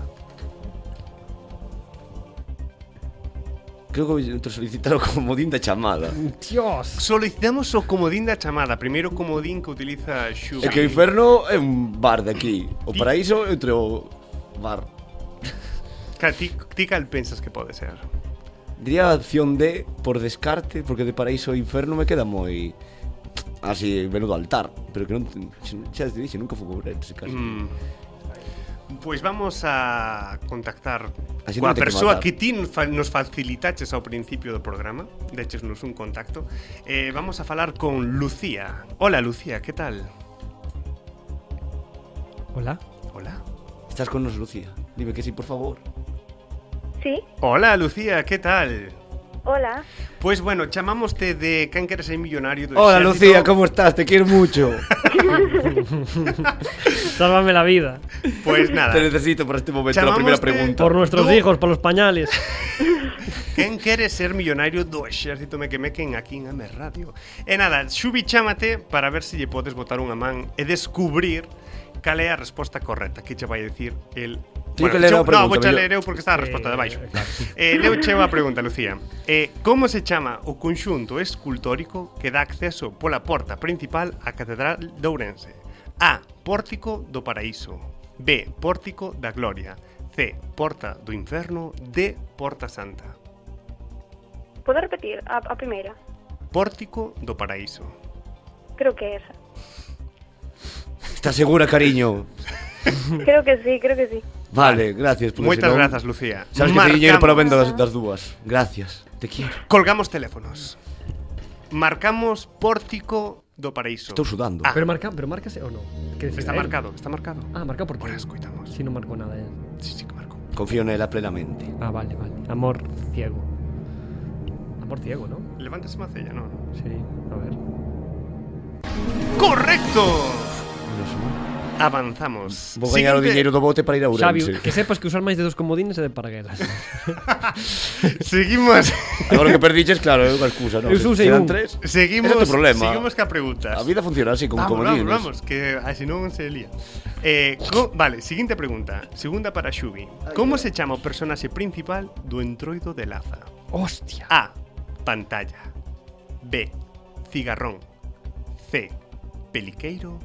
Speaker 3: Creo que te solicitaron como modín da chamada.
Speaker 2: Ah, Dios.
Speaker 1: Solicitamos o comodín da chamada, primeiro comodín que utiliza Xubi.
Speaker 3: É que o Inferno é un bar de aquí. O Paraíso é outro bar.
Speaker 1: Ca- Ti, ti cal pensas que pode ser?
Speaker 3: Diría a opción D por descarte, porque de Paraíso e Inferno me queda moi... Así, menudo altar. Pero que non... Xa te dixen, nunca fui a Ourense, casi.
Speaker 1: Mm. Pois vamos a contactar
Speaker 3: A xente
Speaker 1: coa
Speaker 3: non ten que
Speaker 1: persoa
Speaker 3: matar.
Speaker 1: que ti nos fa- nos facilitaches ao principio do programa Dechesnos un contacto eh, Vamos a falar con Lucía Hola Lucía, que tal?
Speaker 2: Hola.
Speaker 1: Hola
Speaker 3: Estás con nos, Lucía. Dime que sí, por favor.
Speaker 5: Sí,
Speaker 1: Hola Lucía, que tal?
Speaker 5: hola.
Speaker 1: Pois Pues bueno, chamamoste de Quen quere ser millonario do
Speaker 3: Hola,
Speaker 1: exército.
Speaker 3: Lucía, como estás? Te quiero mucho.
Speaker 2: Sálvame la vida.
Speaker 1: Pois Pues nada
Speaker 3: Te necesito para este momento, la primera
Speaker 1: Chamámoste-
Speaker 3: pregunta.
Speaker 2: Por nuestros
Speaker 1: Tú-
Speaker 2: hijos, por los pañales.
Speaker 1: Quen quere ser millonario do exército me que mequen aquí en Ames Radio. E nada, Xubi chámate para ver se lle podes botar unha man e descubrir cal é a resposta correcta que che vai dicir el
Speaker 3: Ti que ler a pregunta,
Speaker 1: no, vou xa
Speaker 3: mellor.
Speaker 1: ler eu porque está a resposta
Speaker 2: Eh,
Speaker 1: debaixo.
Speaker 2: claro.
Speaker 1: Eh, leu che unha pregunta, Lucía. Eh, como se chama o conxunto escultórico que dá acceso pola porta principal á Catedral de Ourense? A. Pórtico do Paraíso. B. Pórtico da Gloria. C. Porta do Inferno. D. Porta Santa.
Speaker 5: Podo repetir a, a primeira?
Speaker 1: Pórtico do Paraíso.
Speaker 5: Creo que é esa.
Speaker 3: ¿Estás segura, cariño?
Speaker 5: Creo que sí, creo que sí.
Speaker 3: Vale, gracias. porque
Speaker 1: Moitas
Speaker 3: senón-
Speaker 1: grazas, Lucía.
Speaker 3: Pues Sabes que te dinero para
Speaker 1: Marcamos-
Speaker 3: o vendo das, das dúas. Gracias. Te quiero.
Speaker 1: Colgamos teléfonos. Marcamos Pórtico do Paraíso.
Speaker 3: Estou sudando. Eh.
Speaker 1: Ah,
Speaker 2: Pero marca, pero márcase o no? Que decida
Speaker 1: está
Speaker 2: él.
Speaker 1: marcado, está marcado.
Speaker 2: Ah, marcado por ti.
Speaker 1: Ora, escoitamos.
Speaker 2: Si no marcó nada él.
Speaker 1: Sí, sí que marcou.
Speaker 3: Confío en ela plenamente.
Speaker 2: Ah, vale, vale. Amor ciego. Amor ciego, ¿no?
Speaker 1: Levántese Macella, non?
Speaker 2: Sí, a ver.
Speaker 1: ¡Correcto! Avanzamos.
Speaker 3: Vou gañar o
Speaker 1: Siguiente-
Speaker 3: diñeiro do bote para ir a
Speaker 2: Xavi,
Speaker 3: Ourense.
Speaker 2: que sepas que usar máis de dos comodines é de paragueras.
Speaker 1: Seguimos.
Speaker 3: Agora que perdiches, claro, é unha excusa, non?
Speaker 2: Eu
Speaker 3: Se-
Speaker 2: usei
Speaker 3: se
Speaker 2: un.
Speaker 3: dan tres.
Speaker 1: Seguimos.
Speaker 3: É outro problema.
Speaker 1: Seguimos ca preguntas.
Speaker 3: A vida funciona así, con
Speaker 1: vamos,
Speaker 3: comodines.
Speaker 1: vamos, vamos, que ah, así non se lía. Eh, co- vale, siguiente pregunta. Segunda para Xubi. Como se chama o personaxe principal do Entroido de Laza?
Speaker 2: Hostia.
Speaker 1: A. Pantalla. B. Cigarrón. C. Peliqueiro.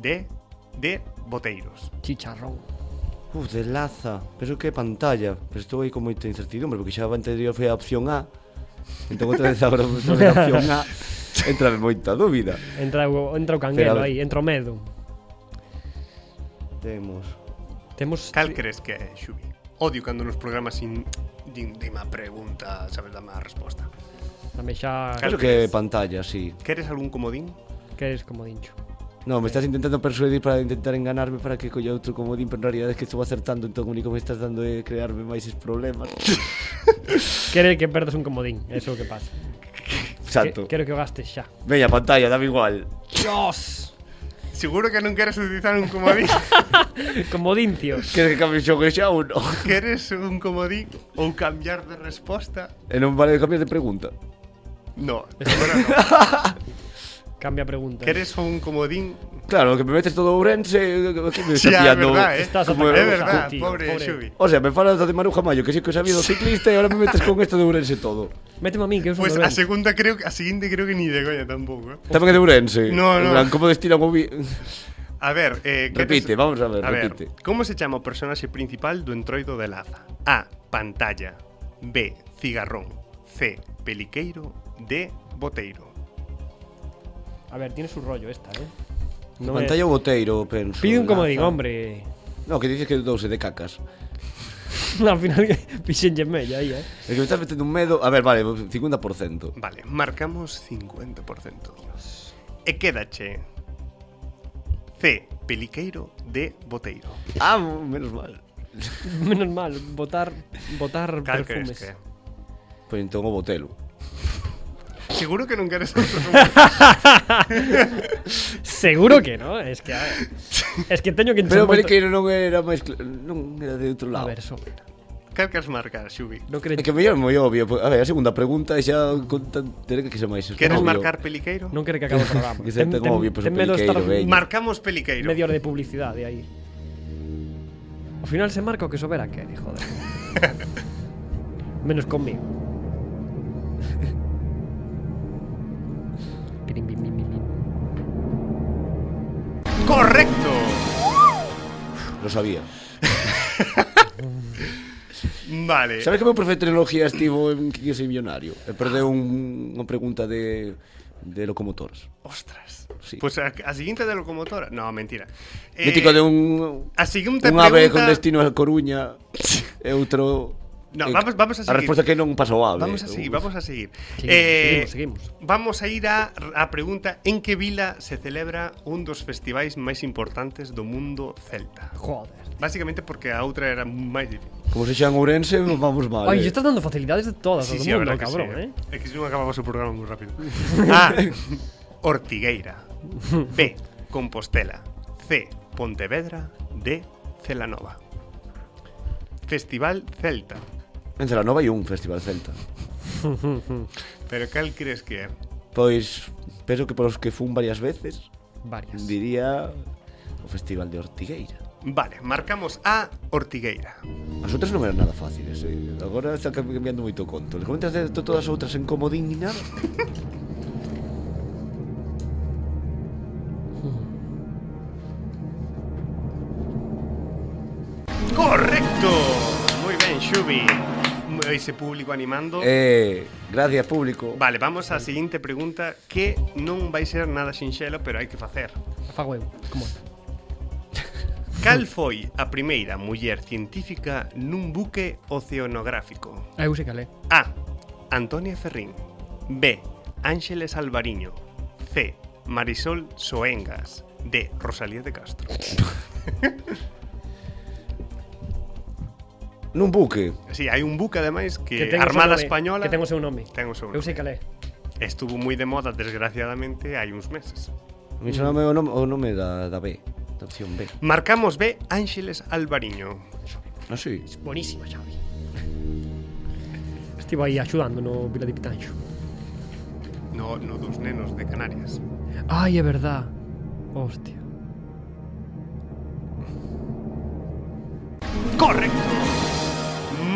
Speaker 1: D. D. Boteiros.
Speaker 2: Chicharrón.
Speaker 3: Uf, de laza. Pero que pantalla. Pero estou aí con moita incertidumbre, porque xa a anterior foi a opción A. Entón outra vez agora vou facer a opción A. Entrame moita dúbida.
Speaker 2: Entra, o- entra o canguelo
Speaker 3: Pero a
Speaker 2: aí,
Speaker 3: ver.
Speaker 2: entra o medo.
Speaker 3: Temos
Speaker 2: Temos
Speaker 1: Cal crees que é, Xubi? Odio cando nos programas sin din, din má pregunta, sabes, dame a resposta.
Speaker 2: tamén xa
Speaker 1: Cal-
Speaker 3: Creo que pantalla, sí.
Speaker 1: Queres algún comodín?
Speaker 2: queres como dincho.
Speaker 3: No, me estás intentando persuadir para intentar enganarme para que colla outro comodín, pero en realidad es que estou acertando, entón o único que me estás dando é crearme máis es problemas.
Speaker 2: Quere que perdas un comodín, é iso o que pasa.
Speaker 3: Santo.
Speaker 2: Que, quero que o gastes xa.
Speaker 3: Veña, pantalla, dame igual.
Speaker 2: Dios!
Speaker 1: Seguro que non queres utilizar un comodín.
Speaker 2: Comodincio.
Speaker 3: Queres que cambie o xogo xa ou non?
Speaker 1: queres un comodín ou cambiar de resposta?
Speaker 3: E non vale cambiar de pregunta.
Speaker 1: No, agora non.
Speaker 2: Cambia a pregunta.
Speaker 1: Queres un comodín?
Speaker 3: Claro, que me metes todo Ourense, que me está
Speaker 1: Xa, é
Speaker 3: pillando.
Speaker 1: verdad, eh.
Speaker 2: Estás
Speaker 1: é
Speaker 2: atacando
Speaker 1: verdad,
Speaker 2: a ti,
Speaker 1: pobre,
Speaker 2: pobre.
Speaker 1: Xubi.
Speaker 3: O sea, me falas de Maruja Mayo, que sí que os ha habido ciclista e ahora me metes con esto de Ourense todo.
Speaker 2: Méteme a mí, que eu sou
Speaker 1: Pues
Speaker 2: pues
Speaker 1: a segunda creo que a siguiente creo que ni de coña tampouco. eh.
Speaker 3: Tamén é de Ourense.
Speaker 1: No, no.
Speaker 3: En plan, como destila movi...
Speaker 1: A ver, eh, queres-
Speaker 3: Repite, vamos a ver,
Speaker 1: a ver,
Speaker 3: repite.
Speaker 1: como se chama o personaxe principal do entroido de Laza? A. Pantalla B. Cigarrón C. Peliqueiro D. Boteiro
Speaker 2: A ver, tiene su rollo esta, eh. é-
Speaker 3: No pantalla o boteiro, penso.
Speaker 2: Pide un comodín,
Speaker 3: Laza.
Speaker 2: hombre.
Speaker 3: No, que dices que dou se de cacas.
Speaker 2: Al final pixenlle mella aí, eh.
Speaker 3: É que me estás metendo un medo... A ver, vale, 50%.
Speaker 1: Vale, marcamos 50% E quédache C. Peliqueiro D. Boteiro
Speaker 3: Ah, menos mal.
Speaker 2: Menos mal, botar botar
Speaker 1: Cal crees
Speaker 2: perfumes.
Speaker 1: que? é?
Speaker 3: Pois entón o botelo.
Speaker 1: Seguro que non queres outro comodín.
Speaker 2: Seguro que no, es que a ver, es que teño que encher
Speaker 3: Pero o
Speaker 2: moito-
Speaker 3: peliqueiro non era máis... cl- Non era de outro
Speaker 2: A
Speaker 3: lado.
Speaker 2: ver, so.
Speaker 1: Cal queres marcar, Xubi?
Speaker 2: No
Speaker 3: É
Speaker 2: queres
Speaker 3: que mellor moi obvio. pois, A ver, a segunda pregunta e xa contan... Tere que ser máis...
Speaker 1: Queres
Speaker 3: obvio.
Speaker 1: marcar Peliqueiro?
Speaker 2: non quere que acabe o programa.
Speaker 3: Que pues, se ten como obvio, pois, o
Speaker 2: medo de estar
Speaker 3: peliqueiro, veña.
Speaker 1: Marcamos Peliqueiro
Speaker 2: media hora de publicidade aí. Ao final se marca o que sobera que, joder. Menos conmigo. Pirim, pim, pim, pim, pim.
Speaker 1: ¡Correcto!
Speaker 3: Lo sabía.
Speaker 1: Vale.
Speaker 3: Sabes que o meu profe de tecnología estivo en que sei millonario? E perdeu un, unha pregunta de, de locomotoras.
Speaker 1: Ostras.
Speaker 3: Sí.
Speaker 1: Pues a, a siguiente de locomotora. No, mentira. Eh,
Speaker 3: Mítico de un...
Speaker 1: A siguiente
Speaker 3: Un ave con
Speaker 1: pregunta-
Speaker 3: destino a Coruña e outro...
Speaker 1: No,
Speaker 3: e-
Speaker 1: vamos- vamos a
Speaker 3: A
Speaker 1: seguir.
Speaker 3: resposta é que non pasou ave.
Speaker 1: Vamos a seguir, vamos a seguir. Eh,
Speaker 2: Seguimos, seguimos, seguimos.
Speaker 1: Vamos a ir a, a pregunta en que vila se celebra un dos festivais máis importantes do mundo celta.
Speaker 2: Joder.
Speaker 1: Básicamente porque a outra era máis difícil.
Speaker 3: Como se xa en Ourense, vamos mal.
Speaker 2: Oye,
Speaker 3: eh.
Speaker 2: estás dando facilidades de todas,
Speaker 1: a
Speaker 2: sí, todo mundo,
Speaker 1: verdad que
Speaker 2: cabrón, eh.
Speaker 1: É que si non acabamos o programa moi rápido. A. Ortigueira. B. Compostela. C. Pontevedra. D. Celanova. Festival Celta.
Speaker 3: En Celanova hai un festival celta.
Speaker 1: Pero cal crees que é?
Speaker 3: Pois, penso que polos que fun varias veces,
Speaker 2: Varias.
Speaker 3: diría o festival de Ortigueira.
Speaker 1: Vale, marcamos A Ortigueira.
Speaker 3: As outras non eran nada fáciles, eh? agora está cambiando moito o conto. Les comentas de to- todas as outras en comodín e nada?
Speaker 1: Correcto. Muy bien, Xubi. Ese público animando.
Speaker 3: Eh, gracias público.
Speaker 1: Vale, vamos á seguinte pregunta que non vai ser nada sinxelo, pero hai que facer.
Speaker 2: A Fago eu, como é?
Speaker 1: Cal foi a primeira muller científica nun buque oceanográfico?
Speaker 2: Ah, eu sei cal é.
Speaker 1: A. Antonia Ferrín. B. Ángeles Alvariño. C. Marisol Soengas. D. Rosalía de Castro.
Speaker 3: Nun buque.
Speaker 1: Sí, hai un buque ademais que,
Speaker 2: ten o seu
Speaker 1: Armada
Speaker 2: nome,
Speaker 1: Española
Speaker 2: eh, Que ten o seu nome.
Speaker 1: ten o seu
Speaker 2: Eu sei
Speaker 1: nome.
Speaker 2: cal é.
Speaker 1: estuvo moi de moda desgraciadamente hai uns meses.
Speaker 3: A mí soname o nome, o nome da, da B, da opción B.
Speaker 1: Marcamos B. Ángeles Alvariño.
Speaker 3: Ah, sí.
Speaker 2: Buenísima, Xavi. Estivo aí axudando no Vila de Pitanxo.
Speaker 1: No, no dos nenos de Canarias.
Speaker 2: Ai, é verdad. Hostia.
Speaker 1: Correcto.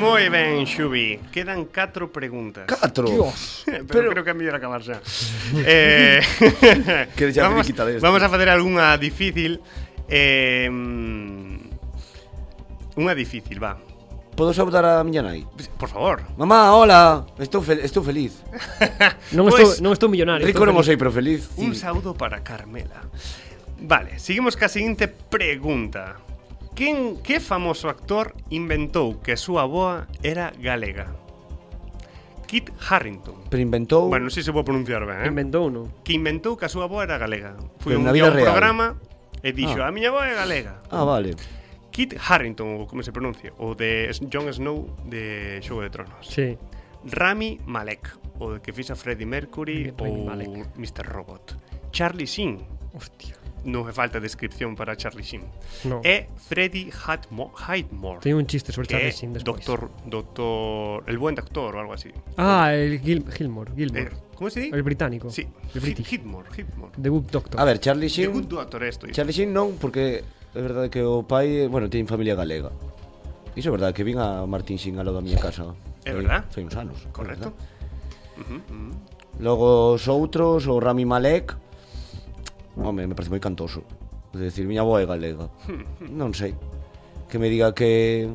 Speaker 1: Moi ben, Xubi. Quedan 4 preguntas.
Speaker 3: Catro.
Speaker 2: Dios.
Speaker 1: Pero,
Speaker 3: Pero-
Speaker 1: creo que é mellor acabar xa. eh,
Speaker 3: Que xa
Speaker 1: vamos,
Speaker 3: finiquita deste.
Speaker 1: vamos a facer algunha difícil. Eh, unha difícil, va.
Speaker 3: Podo saudar a miña nai?
Speaker 1: Por favor.
Speaker 3: Mamá, hola. Estou, fel estou feliz.
Speaker 2: Non
Speaker 1: Pois,
Speaker 2: estou, non estou millonario.
Speaker 3: Rico
Speaker 2: estou
Speaker 3: non o
Speaker 2: feliz.
Speaker 3: sei, pero feliz.
Speaker 1: Un
Speaker 3: sí.
Speaker 1: saúdo para Carmela. Vale, seguimos ca siguiente pregunta. Quen, que famoso actor inventou que a súa avoa era galega? Kit Harrington.
Speaker 3: Pero inventou
Speaker 1: Bueno, non sei se vou pronunciar ben, eh?
Speaker 2: Inventou uno.
Speaker 1: que inventou que a súa avoa era galega. Foi
Speaker 3: Pero
Speaker 1: un,
Speaker 3: na
Speaker 1: día a
Speaker 3: vida
Speaker 1: un
Speaker 3: real.
Speaker 1: programa e dixo, a
Speaker 3: Ah.
Speaker 1: miña avoa é galega.
Speaker 3: Ah, vale.
Speaker 1: Kit Harrington, ou como se pronuncia, o de Jon Snow de Xogo de Tronos.
Speaker 2: Sí.
Speaker 1: Rami Malek, o de que fixa Freddie Mercury
Speaker 2: Rami
Speaker 1: ou
Speaker 2: Malek.
Speaker 1: Mr. Robot. Charlie Sheen,
Speaker 2: Hostia.
Speaker 1: non me falta descripción para Charlie Sheen.
Speaker 2: No.
Speaker 1: E Freddie Hatmo- Highmore,
Speaker 2: Oh. Tengo un chiste sobre
Speaker 1: que
Speaker 2: Charlie
Speaker 1: é
Speaker 2: Sheen despois.
Speaker 1: eh, doctor, doctor, el buen doctor ou algo así.
Speaker 2: Ah, el Gil Gilmore.
Speaker 1: Eh,
Speaker 2: Gilmore.
Speaker 1: como se di?
Speaker 2: El británico.
Speaker 1: Sí,
Speaker 2: El
Speaker 1: Hit-
Speaker 2: british.
Speaker 1: Hitmore, Hitmore.
Speaker 2: The Good Doctor.
Speaker 3: A ver, Charlie
Speaker 1: The Good
Speaker 3: Sheen...
Speaker 1: Doctor, esto.
Speaker 3: Charlie Sheen non, porque é verdade que o pai, eh, bueno, ten familia galega. Iso é verdade, que vin a Martín Sheen a lo da miña casa.
Speaker 1: É
Speaker 3: Foi-
Speaker 1: verdad.
Speaker 3: Foi uns anos. é
Speaker 1: Correcto.
Speaker 3: verdad. Logo os outros, o Rami Malek Home, me parece moi cantoso De decir, miña boa é galega Non sei Que me diga que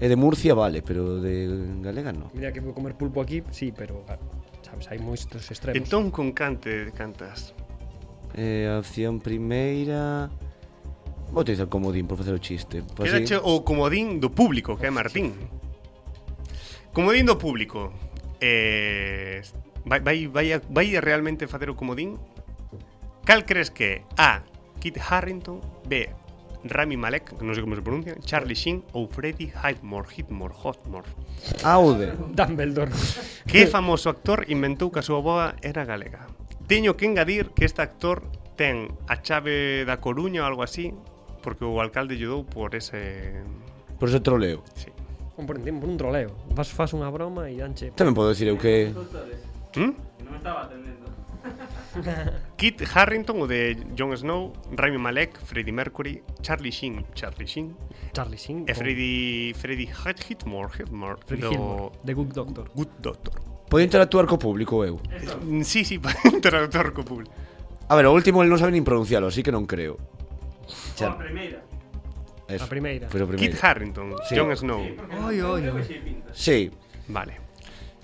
Speaker 3: É de Murcia, vale, pero de galega non
Speaker 2: Mira que puedo comer pulpo aquí, sí, pero ah, sabes, hai moitos extremos.
Speaker 1: Entón, con cante cantas?
Speaker 3: eh, A opción primeira Vou utilizar comodín por facer o chiste Pois por así-
Speaker 1: Quedache o comodín do público, que é Martín. Comodín do público. Eh, vai, vai, vai, a- vai a realmente facer o comodín? Cal crees que é? A. Kit Harrington B. Rami Malek, que non sei como se pronuncia Charlie Sheen ou Freddie Highmore Hitmore, Hotmore
Speaker 3: Aude
Speaker 2: Dumbledore.
Speaker 1: Que famoso actor inventou que a súa boa era galega? Teño que engadir que este actor ten a chave da Coruña ou algo así Porque o alcalde lle dou por ese...
Speaker 3: Por ese troleo
Speaker 1: Sí.
Speaker 2: Un por, por un troleo. Vas, fas unha broma e danche...
Speaker 3: Tamén podo decir eu que
Speaker 1: ¿Mm? Kit Harrington, o de Jon Snow, Rami Malek, Freddie Mercury, Charlie Sheen, Charlie Sheen,
Speaker 2: Charlie Sheen.
Speaker 3: Oh.
Speaker 1: e
Speaker 2: con
Speaker 1: Freddie, Freddie Hit- Hitmore, Hitmore,
Speaker 2: Freddie
Speaker 1: do
Speaker 2: Gilmore. The Good Doctor.
Speaker 1: Good Doctor.
Speaker 3: Podo interactuar co público eu
Speaker 1: Mm, Sí, sí, para interactuar co público.
Speaker 3: A ver, o último el non sabe nin pronuncialo, así que non creo Char...
Speaker 6: primeira.
Speaker 3: Eso.
Speaker 2: A primeira.
Speaker 3: Pois o primeiro
Speaker 1: Kit Harrington,
Speaker 3: Sí.
Speaker 1: Jon Snow.
Speaker 2: Oi, oi, oi.
Speaker 3: Sí,
Speaker 1: Vale.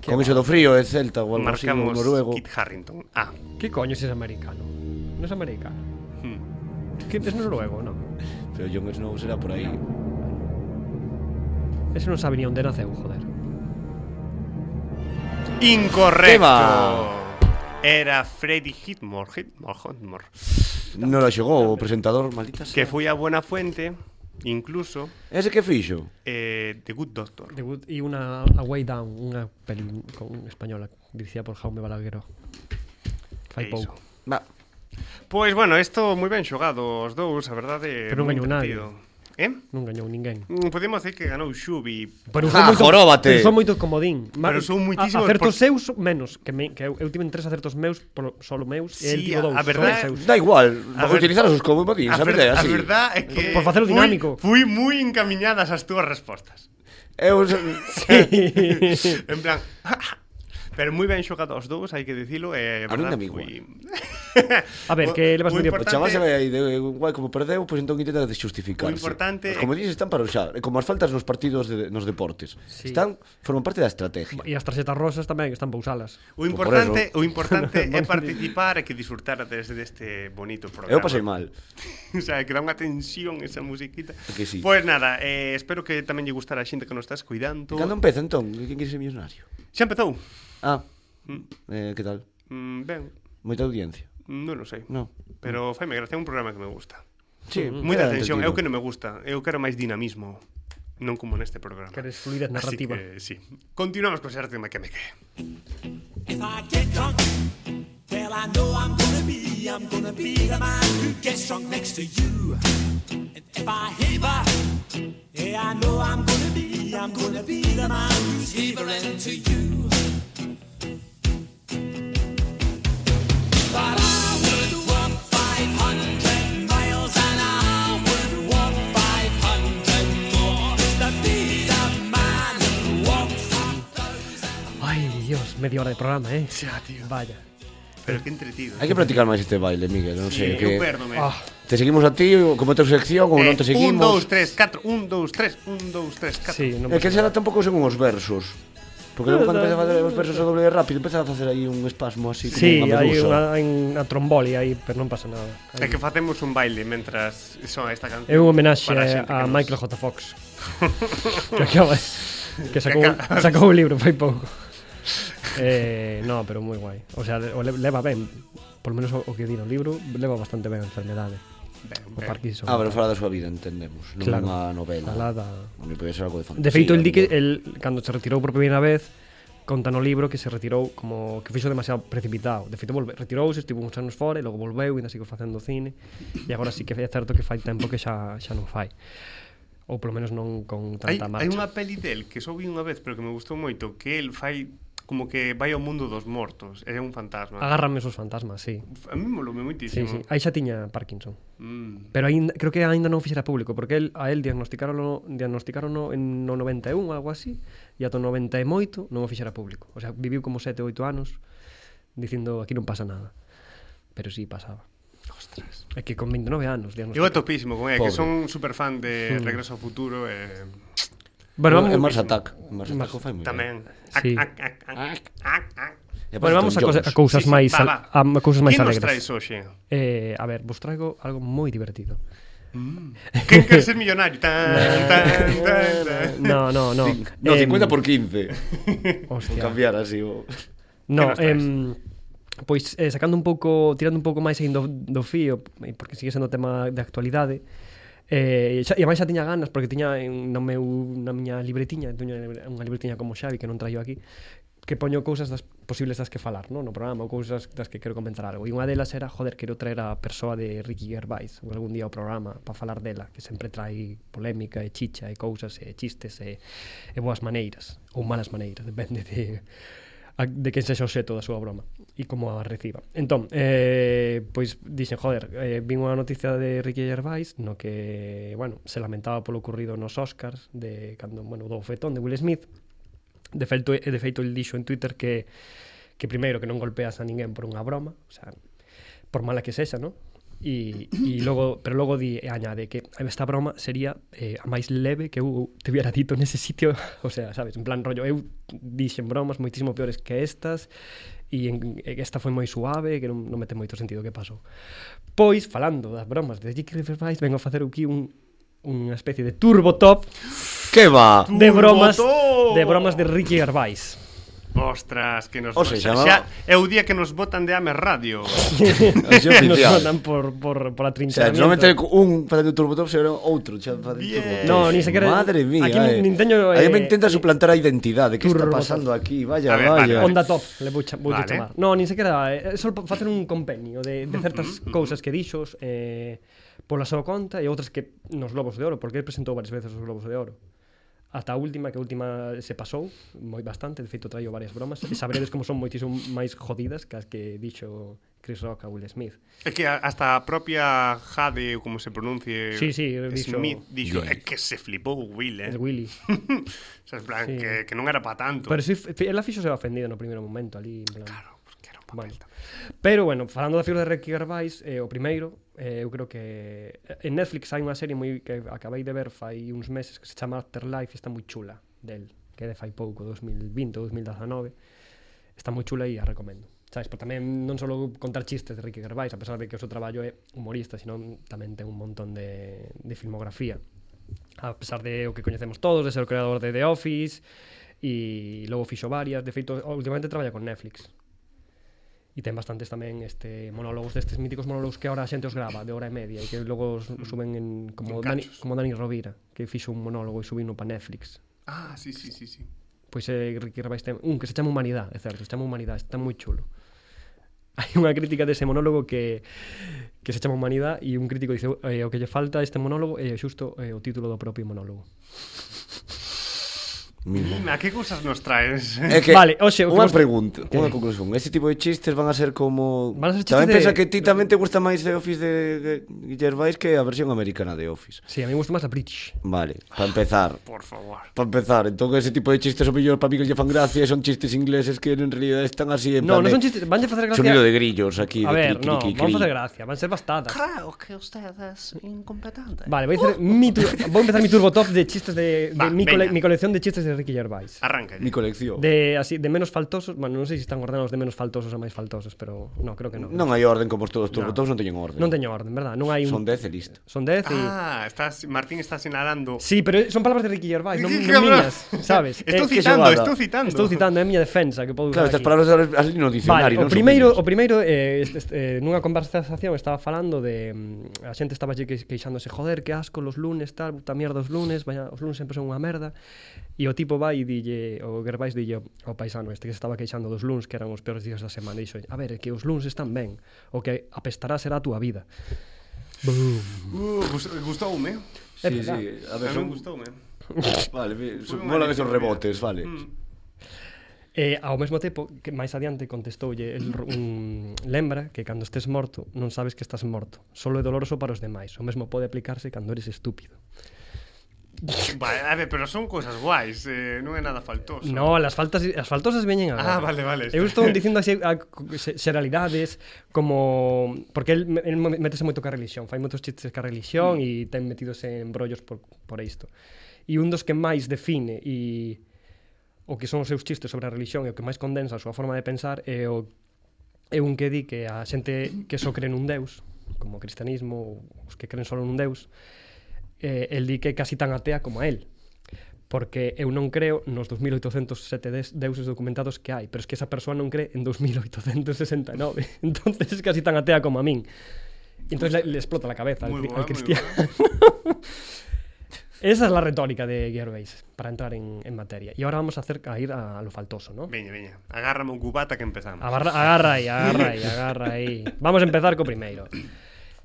Speaker 2: Que
Speaker 3: con iso do frío e Celta ou algo así, no
Speaker 1: Marcamos
Speaker 3: noruego
Speaker 1: Kit Harrington. Ah,
Speaker 2: Que coño se es americano? Non es americano.
Speaker 1: Hmm.
Speaker 2: Que es noruego, non?
Speaker 3: Pero Jon Snow será por aí.
Speaker 2: Ese non sabe ni onde naceu, joder.
Speaker 1: incorrecto.
Speaker 3: Tema.
Speaker 1: Era Freddie Hitmore, Hitmore, Hitmore.
Speaker 3: Non la xogou o presentador, maldita sea.
Speaker 1: Que foi a buena fuente, incluso,
Speaker 3: Ese que fixo?
Speaker 1: eh, The Good Doctor.
Speaker 2: The Good e unha A Way Down, unha peli con española dirixida por Jaume Balagueró. Fai
Speaker 1: E
Speaker 2: pouco.
Speaker 1: iso.
Speaker 3: Va.
Speaker 1: Pois bueno, isto moi ben xogado os dous, a verdade,
Speaker 2: Pero non
Speaker 1: moi
Speaker 2: gañou nadie.
Speaker 1: divertido. Eh?
Speaker 2: Non gañou ninguén.
Speaker 1: Mm, Podemos decir que ganou Xubi.
Speaker 2: Pero
Speaker 3: Ja,
Speaker 2: pero
Speaker 3: joróbate.
Speaker 2: son moito comodín.
Speaker 1: Ah, Pero son muitísimos por-
Speaker 2: Acertos seus menos, que, me, que eu, eu tiven tres acertos meus, polo, solo meus,
Speaker 1: Sí,
Speaker 2: e el tivo
Speaker 1: a-
Speaker 2: dous.
Speaker 1: a verdade-
Speaker 2: solo seus.
Speaker 3: Da igual,
Speaker 1: A
Speaker 3: vou
Speaker 1: ver-
Speaker 3: utilizar os comodíns, a
Speaker 1: ver-
Speaker 3: verdade,
Speaker 1: a
Speaker 3: así.
Speaker 1: verdad é que
Speaker 2: Por facelo
Speaker 1: fui-
Speaker 2: dinámico.
Speaker 1: Fui moi encaminhadas as túas respostas.
Speaker 3: Eu
Speaker 1: En plan, pero moi ben xogado os dous, hai que dicilo, e eh,
Speaker 3: A min
Speaker 1: verdad,
Speaker 3: dame igual.
Speaker 1: fui...
Speaker 2: A ver, que levas
Speaker 1: O
Speaker 2: medio-
Speaker 3: O
Speaker 1: importante-
Speaker 3: chaval se vai aí de guai como perdeu, pois entón intenta
Speaker 1: O
Speaker 3: justificarse.
Speaker 1: importante
Speaker 3: Os comodíns están para usar, e como as faltas nos partidos de, nos deportes.
Speaker 2: Sí.
Speaker 3: Están forman parte da estrategia.
Speaker 2: E as tarxetas rosas tamén están pousalas.
Speaker 1: O
Speaker 3: Por
Speaker 1: importante,
Speaker 3: eso.
Speaker 1: o importante é participar e que disfrutarades deste bonito programa.
Speaker 3: Eu pasei mal.
Speaker 1: O sea, que dá unha tensión esa musiquita.
Speaker 3: Que sí.
Speaker 1: Pois nada, eh, espero que tamén lle gustara a xente que nos estás cuidando.
Speaker 3: Cando empeza entón? Quen quere ser millonario?
Speaker 1: Xa empezou.
Speaker 3: Ah,
Speaker 1: Mm.
Speaker 3: eh, que tal?
Speaker 1: Mm, ben,
Speaker 3: Moita audiencia.
Speaker 1: non lo sei.
Speaker 3: No. Mm.
Speaker 1: Pero faime gracia, é un programa que me gusta.
Speaker 3: Sí,
Speaker 1: Moita atención, eu que
Speaker 3: non...
Speaker 1: non me gusta. Eu quero máis dinamismo. Non como neste programa.
Speaker 2: Queres fluidez
Speaker 1: Así
Speaker 2: narrativa.
Speaker 1: que, sí. Continuamos con Xerte que me que.
Speaker 7: If I get drunk, well, I know I'm gonna be, I'm gonna be the man who gets drunk next to you. And if I haver, yeah, I know I'm gonna be, I'm gonna be the man who's havering to you. But I would walk 500 miles and I would walk 500 more to be the man who walks
Speaker 2: Ai, Dios, media hora de programa, eh. Xa, tío. Vaya.
Speaker 1: Pero que entretido.
Speaker 3: Hai que practicar máis este baile, Miguel, non sei,
Speaker 1: Sí, Eh,
Speaker 3: que
Speaker 1: eu perdome.
Speaker 2: Ah,
Speaker 3: Te seguimos a ti, como te sección, como non te seguimos.
Speaker 1: 1, 2, 3, 4, 1, 2, 3, 1, 2, 3, 4.
Speaker 2: sí, non
Speaker 3: É que
Speaker 2: pasa nada.
Speaker 3: xa tampouco según os versos. Porque logo cando empecé a facer os versos ao doble de rápido Empecé a facer aí un espasmo así como
Speaker 2: Sí,
Speaker 3: unha
Speaker 2: hai
Speaker 3: medusa.
Speaker 2: unha, hai unha tromboli aí, pero non pasa nada.
Speaker 1: É que facemos un baile mentras soa esta canción.
Speaker 2: É un homenaxe
Speaker 1: para xente que
Speaker 2: a
Speaker 1: nos-
Speaker 2: Michael J. Fox. que acaba que sacou,
Speaker 1: acaba-
Speaker 2: sacou o libro fai pouco. Eh, no, pero moi guai. O sea, o le- leva ben, por menos o, o que di no libro, leva bastante ben a enfermedade,
Speaker 1: Ben,
Speaker 2: o
Speaker 1: ben.
Speaker 2: Parkinson.
Speaker 3: Ah, pero fala da súa vida, entendemos Non
Speaker 2: Claro.
Speaker 3: unha novela
Speaker 2: Fala da...
Speaker 3: Non podía ser algo de fantasía
Speaker 2: De feito, el di que
Speaker 3: non?
Speaker 2: el, cando se retirou por primeira vez, conta no libro que se retirou como que fixo demasiado precipitado. De feito, volve, retirouse, estivo uns anos fora e logo volveu, ainda sigo facendo cine e agora sí que é certo que fai tempo que xa, xa non fai. Ou polo menos non con
Speaker 1: Hai,
Speaker 2: tanta marcha.
Speaker 1: hai unha peli del que só vi unha vez, pero que me gustou moito, que el fai como que vai ao mundo dos mortos, é un fantasma.
Speaker 2: Agárrame os fantasmas, sí.
Speaker 1: A mí molome
Speaker 2: Sí,
Speaker 1: moitísimo.
Speaker 2: Ah. sí. Aí xa tiña Parkinson.
Speaker 1: Mm.
Speaker 2: Pero aínda, creo que aínda non fixera público, porque el, a el diagnosticaron, diagnosticaron en no 91 ou algo así, e ata o 98 non o fixera público. O sea, viviu como 7 ou 8 anos dicindo aquí non pasa nada. Pero sí pasaba.
Speaker 1: Ostras.
Speaker 2: É que con 29 anos
Speaker 1: Eu é
Speaker 2: diagnosticaron.
Speaker 1: topísimo con é, que
Speaker 3: Pobre.
Speaker 1: son super fan de Regreso ao Futuro eh, e...
Speaker 2: Bueno,
Speaker 3: É
Speaker 2: vamos,
Speaker 3: Mars Attack En Mars Attack o fai moi
Speaker 1: Tamén.
Speaker 2: Sí.
Speaker 1: Ac, ac, ac, ac, ac, ac.
Speaker 3: ben. E aparte
Speaker 2: bueno, vamos a,
Speaker 3: Tom
Speaker 2: cosa,
Speaker 3: Jones.
Speaker 2: a cousas
Speaker 1: Sí, sí,
Speaker 2: máis
Speaker 1: va,
Speaker 2: al-
Speaker 1: va.
Speaker 2: a, a cousas máis
Speaker 1: Quen nos traes
Speaker 2: alegres.
Speaker 1: hoxe?
Speaker 2: Eh, a ver, vos traigo algo moi divertido.
Speaker 1: Quen quer ser millonario? Tan, tan, tan, tan.
Speaker 2: No, no, no.
Speaker 3: Cin- No,
Speaker 2: Em,
Speaker 3: 50 por 15 Vou
Speaker 2: Hostia.
Speaker 3: cambiar así o...
Speaker 1: Que
Speaker 2: No,
Speaker 1: nos traes?
Speaker 2: em, pois eh, sacando un pouco, tirando un pouco máis aínda do, do fío, eh, porque sigue sendo tema de actualidade, eh, e xa, e ademais xa tiña ganas, porque tiña en, no meu, na miña libretiña, tiña unha libretiña como Xavi que non traio aquí, que poño cousas das posibles das que falar, no, no programa, ou cousas das que quero comentar algo. E unha delas era, joder, quero traer a persoa de Ricky Gervais algún día ao programa para falar dela, que sempre trai polémica e chicha e cousas e chistes e, e boas maneiras, ou malas maneiras, depende de a, de quen sexa o xeto da súa broma e como a reciba. Entón, eh, pois dixen, joder, eh, vin unha noticia de Ricky Gervais no que, bueno, se lamentaba polo ocurrido nos Oscars de cando, bueno, do fetón de Will Smith. De feito, e de feito el dixo en Twitter que que primeiro que non golpeas a ninguén por unha broma, o sea, por mala que sexa, non? E, e logo, pero logo di, e añade que esta broma sería eh, a máis leve que eu te hubiera dito nese sitio o sea, sabes, en plan rollo eu dixen bromas moitísimo peores que estas e en, e esta foi moi suave que non, non me ten moito sentido que pasou pois, falando das bromas de J.K. Gervais vengo a facer aquí un, unha especie de turbo top
Speaker 3: Que va?
Speaker 2: de
Speaker 1: Turbo
Speaker 2: bromas
Speaker 1: top!
Speaker 2: de bromas de Ricky Gervais
Speaker 1: Ostras, que nos...
Speaker 3: O se
Speaker 1: xa, xa,
Speaker 3: chamaba-
Speaker 1: é o día que nos botan de Ames Radio.
Speaker 3: Así
Speaker 2: nos mandan
Speaker 3: oficial
Speaker 2: por, por, por
Speaker 3: O sea,
Speaker 2: atrincheramiento
Speaker 3: normalmente un facendo turbo top será outro xa facendo
Speaker 1: Bien.
Speaker 3: turbo top.
Speaker 2: No, ni sequera-
Speaker 3: Madre mía.
Speaker 2: aquí nin-
Speaker 3: eh.
Speaker 2: nin teño,
Speaker 3: Aí
Speaker 2: eh,
Speaker 3: me intenta suplantar a identidade que está
Speaker 2: turbo
Speaker 3: pasando aquí. Vaya,
Speaker 1: A ver, vale,
Speaker 3: vaya.
Speaker 1: vale.
Speaker 2: Onda top, le vou, cha, vou
Speaker 1: Vale.
Speaker 2: vale. chamar. No, nin sequera, é só pa facer un compenio de, de certas cousas que dixos eh, pola súa conta e outras que nos Globos de Oro, porque ele presentou varias veces os Globos de Oro. Ata a última, que a última se pasou moi bastante, de feito traio varias bromas, e saberedes como son moitísimo máis jodidas que as que dixo Chris Rock a Will Smith.
Speaker 1: É que a- hasta a propia Jade, ou como se pronuncie,
Speaker 2: Sí, sí, dixo-
Speaker 1: Smith, dixo, é que se flipou Will, eh?
Speaker 2: El Willy.
Speaker 1: O sea, en plan,
Speaker 2: Sí.
Speaker 1: que, que non era pa tanto.
Speaker 2: Pero si, ela fixo se ofendida no primeiro momento ali, en plan.
Speaker 1: Claro, porque era un papel
Speaker 2: Bueno.
Speaker 1: tamén.
Speaker 2: Pero bueno, falando da figura de Ricky Gervais, eh, o primeiro, eh, eu creo que eh, en Netflix hai unha serie moi que acabei de ver fai uns meses que se chama Afterlife, e está moi chula del, que é de fai pouco, 2020 ou 2019. Está moi chula e a recomendo. Sabes, pero tamén non só contar chistes de Ricky Gervais, a pesar de que o seu traballo é humorista, senón tamén ten un montón de, de filmografía a pesar de o que coñecemos todos, de ser o creador de The Office e logo fixo varias, de feito últimamente traballa con Netflix. E ten bastantes tamén este monólogos destes míticos monólogos que ahora a xente os grava de hora e media e que logo os os suben en
Speaker 1: Mm. En
Speaker 2: como Dani,
Speaker 1: cachos.
Speaker 2: como Dani Rovira, que fixo un monólogo e subiu para Netflix.
Speaker 1: Ah, sí, sí, sí, sí.
Speaker 2: Pois é Ricky Gervais ten un que se chama Humanidade, é certo, se chama Humanidade, está moi chulo. Hai unha crítica dese monólogo que que se chama Humanidade e un crítico dice eh, o que lle falta a este monólogo é xusto eh, o título do propio monólogo.
Speaker 3: Mira.
Speaker 1: A que cousas nos traes?
Speaker 3: É que
Speaker 2: Vale, oxe, o que
Speaker 3: unha
Speaker 2: vos-
Speaker 3: pregunta,
Speaker 2: Que?
Speaker 3: unha conclusión. Ese tipo de chistes van a ser como
Speaker 2: Van a ser
Speaker 3: Tamén
Speaker 2: chistes
Speaker 3: pensa
Speaker 2: de-
Speaker 3: que ti tamén te gusta máis The Office de de Gervais que a versión americana de Office.
Speaker 2: Sí, a mí me gusta máis a British.
Speaker 3: Vale, para empezar.
Speaker 1: Por favor.
Speaker 3: Para empezar, entón ese tipo de chistes o mellor para mí que lle fan gracia son chistes ingleses que en realidad están así en
Speaker 2: No, non
Speaker 3: plan de-
Speaker 2: son chistes, vanlle facer gracia.
Speaker 3: Sonido de grillos aquí
Speaker 2: A
Speaker 3: de
Speaker 2: ver,
Speaker 3: cri, cri,
Speaker 2: no,
Speaker 3: cri,
Speaker 2: van
Speaker 3: cri.
Speaker 2: facer gracia, van ser bastadas.
Speaker 4: Claro que usted es incompetente.
Speaker 2: Vale, voy a hacer mi tur- vou empezar mi turbo top de chistes de, de
Speaker 1: Va,
Speaker 2: mi,
Speaker 1: veña.
Speaker 2: cole mi colección de chistes de Ricky Gervais.
Speaker 1: Arranca.
Speaker 3: Mi colección.
Speaker 2: De, así, de menos faltosos, bueno, non sei se están ordenados de menos faltosos a máis faltosos, pero no, creo que non.
Speaker 3: Non hai orden como os todos,
Speaker 2: No.
Speaker 3: no. todos non teñen orden.
Speaker 2: non teño orden, verdad? Non hai un...
Speaker 3: Son 10 e listo.
Speaker 2: Son dez e...
Speaker 1: Ah, estás, Martín está señalando.
Speaker 2: Sí, pero son palabras de Ricky Gervais, non,
Speaker 1: Qué
Speaker 2: non
Speaker 1: cabrón.
Speaker 2: miñas, sabes?
Speaker 1: Estou
Speaker 3: que
Speaker 1: citando,
Speaker 3: xogada.
Speaker 1: estou citando.
Speaker 2: Estou citando, é a miña defensa que podo
Speaker 3: Claro,
Speaker 2: usar
Speaker 3: estas
Speaker 2: aquí.
Speaker 3: palabras ali no
Speaker 2: Vale,
Speaker 3: diccionario,
Speaker 2: o
Speaker 3: non son
Speaker 2: primeiro, o
Speaker 3: miñas.
Speaker 2: primeiro eh, est- est- eh, nunha conversación estaba falando de mm, a xente estaba allí que, queixándose, joder, que asco los lunes, tal, puta mierda os lunes, vaya, os lunes sempre son unha merda. E o tipo vai e dille, o Gervais dille ao- ao paisano este que se estaba queixando dos lunes, que eran os peores días da semana, dixo, a ver, é que os lunes están ben, o que apestará será a túa vida.
Speaker 1: Uh, gust- gustoume.
Speaker 2: É
Speaker 3: Sí,
Speaker 2: verdad.
Speaker 3: sí, a
Speaker 1: A
Speaker 3: ver,
Speaker 1: non
Speaker 3: son...
Speaker 1: gustoume.
Speaker 3: Vale, ve- son-
Speaker 1: Foi unha
Speaker 3: molan esos
Speaker 1: lección de
Speaker 3: rebotes,
Speaker 1: vida.
Speaker 3: vale.
Speaker 1: Mm.
Speaker 2: E ao mesmo tempo, que máis adiante contestoulle el, ro- un lembra que cando estes morto non sabes que estás morto. Solo é doloroso para os demais. O mesmo pode aplicarse cando eres estúpido.
Speaker 1: Vale, a ver, pero son cousas guais, eh, non é nada faltoso.
Speaker 2: No, las faltas as faltosas veñen
Speaker 1: Ah,
Speaker 2: agora.
Speaker 1: vale, vale.
Speaker 2: Eu estou dicindo así a, se- xeralidades como porque el, el metese moito ca religión, fai moitos chistes ca religión
Speaker 1: Mm.
Speaker 2: e ten metidos en brollos por por isto. E un dos que máis define e o que son os seus chistes sobre a religión e o que máis condensa a súa forma de pensar é o é un que di que a xente que só cree nun deus, como o cristianismo, ou os que creen só nun deus, eh, el di que é casi tan atea como a él porque eu non creo nos 2807 des- deuses documentados que hai, pero es que esa persoa non cree en 2869. Entonces es casi tan atea como a min. E entonces le, le explota la cabeza al,
Speaker 1: Muy
Speaker 2: cri-
Speaker 1: boa,
Speaker 2: al
Speaker 1: muy
Speaker 2: cristiano. Esa es la retórica de Gervais para entrar en, en materia. Y ahora vamos a, hacer, a ir a, a lo faltoso, ¿no?
Speaker 1: Veña, veña. Agárrame un cubata que empezamos.
Speaker 2: Agarra, agarra aí, agarra aí, agarra aí. Vamos a empezar co primeiro.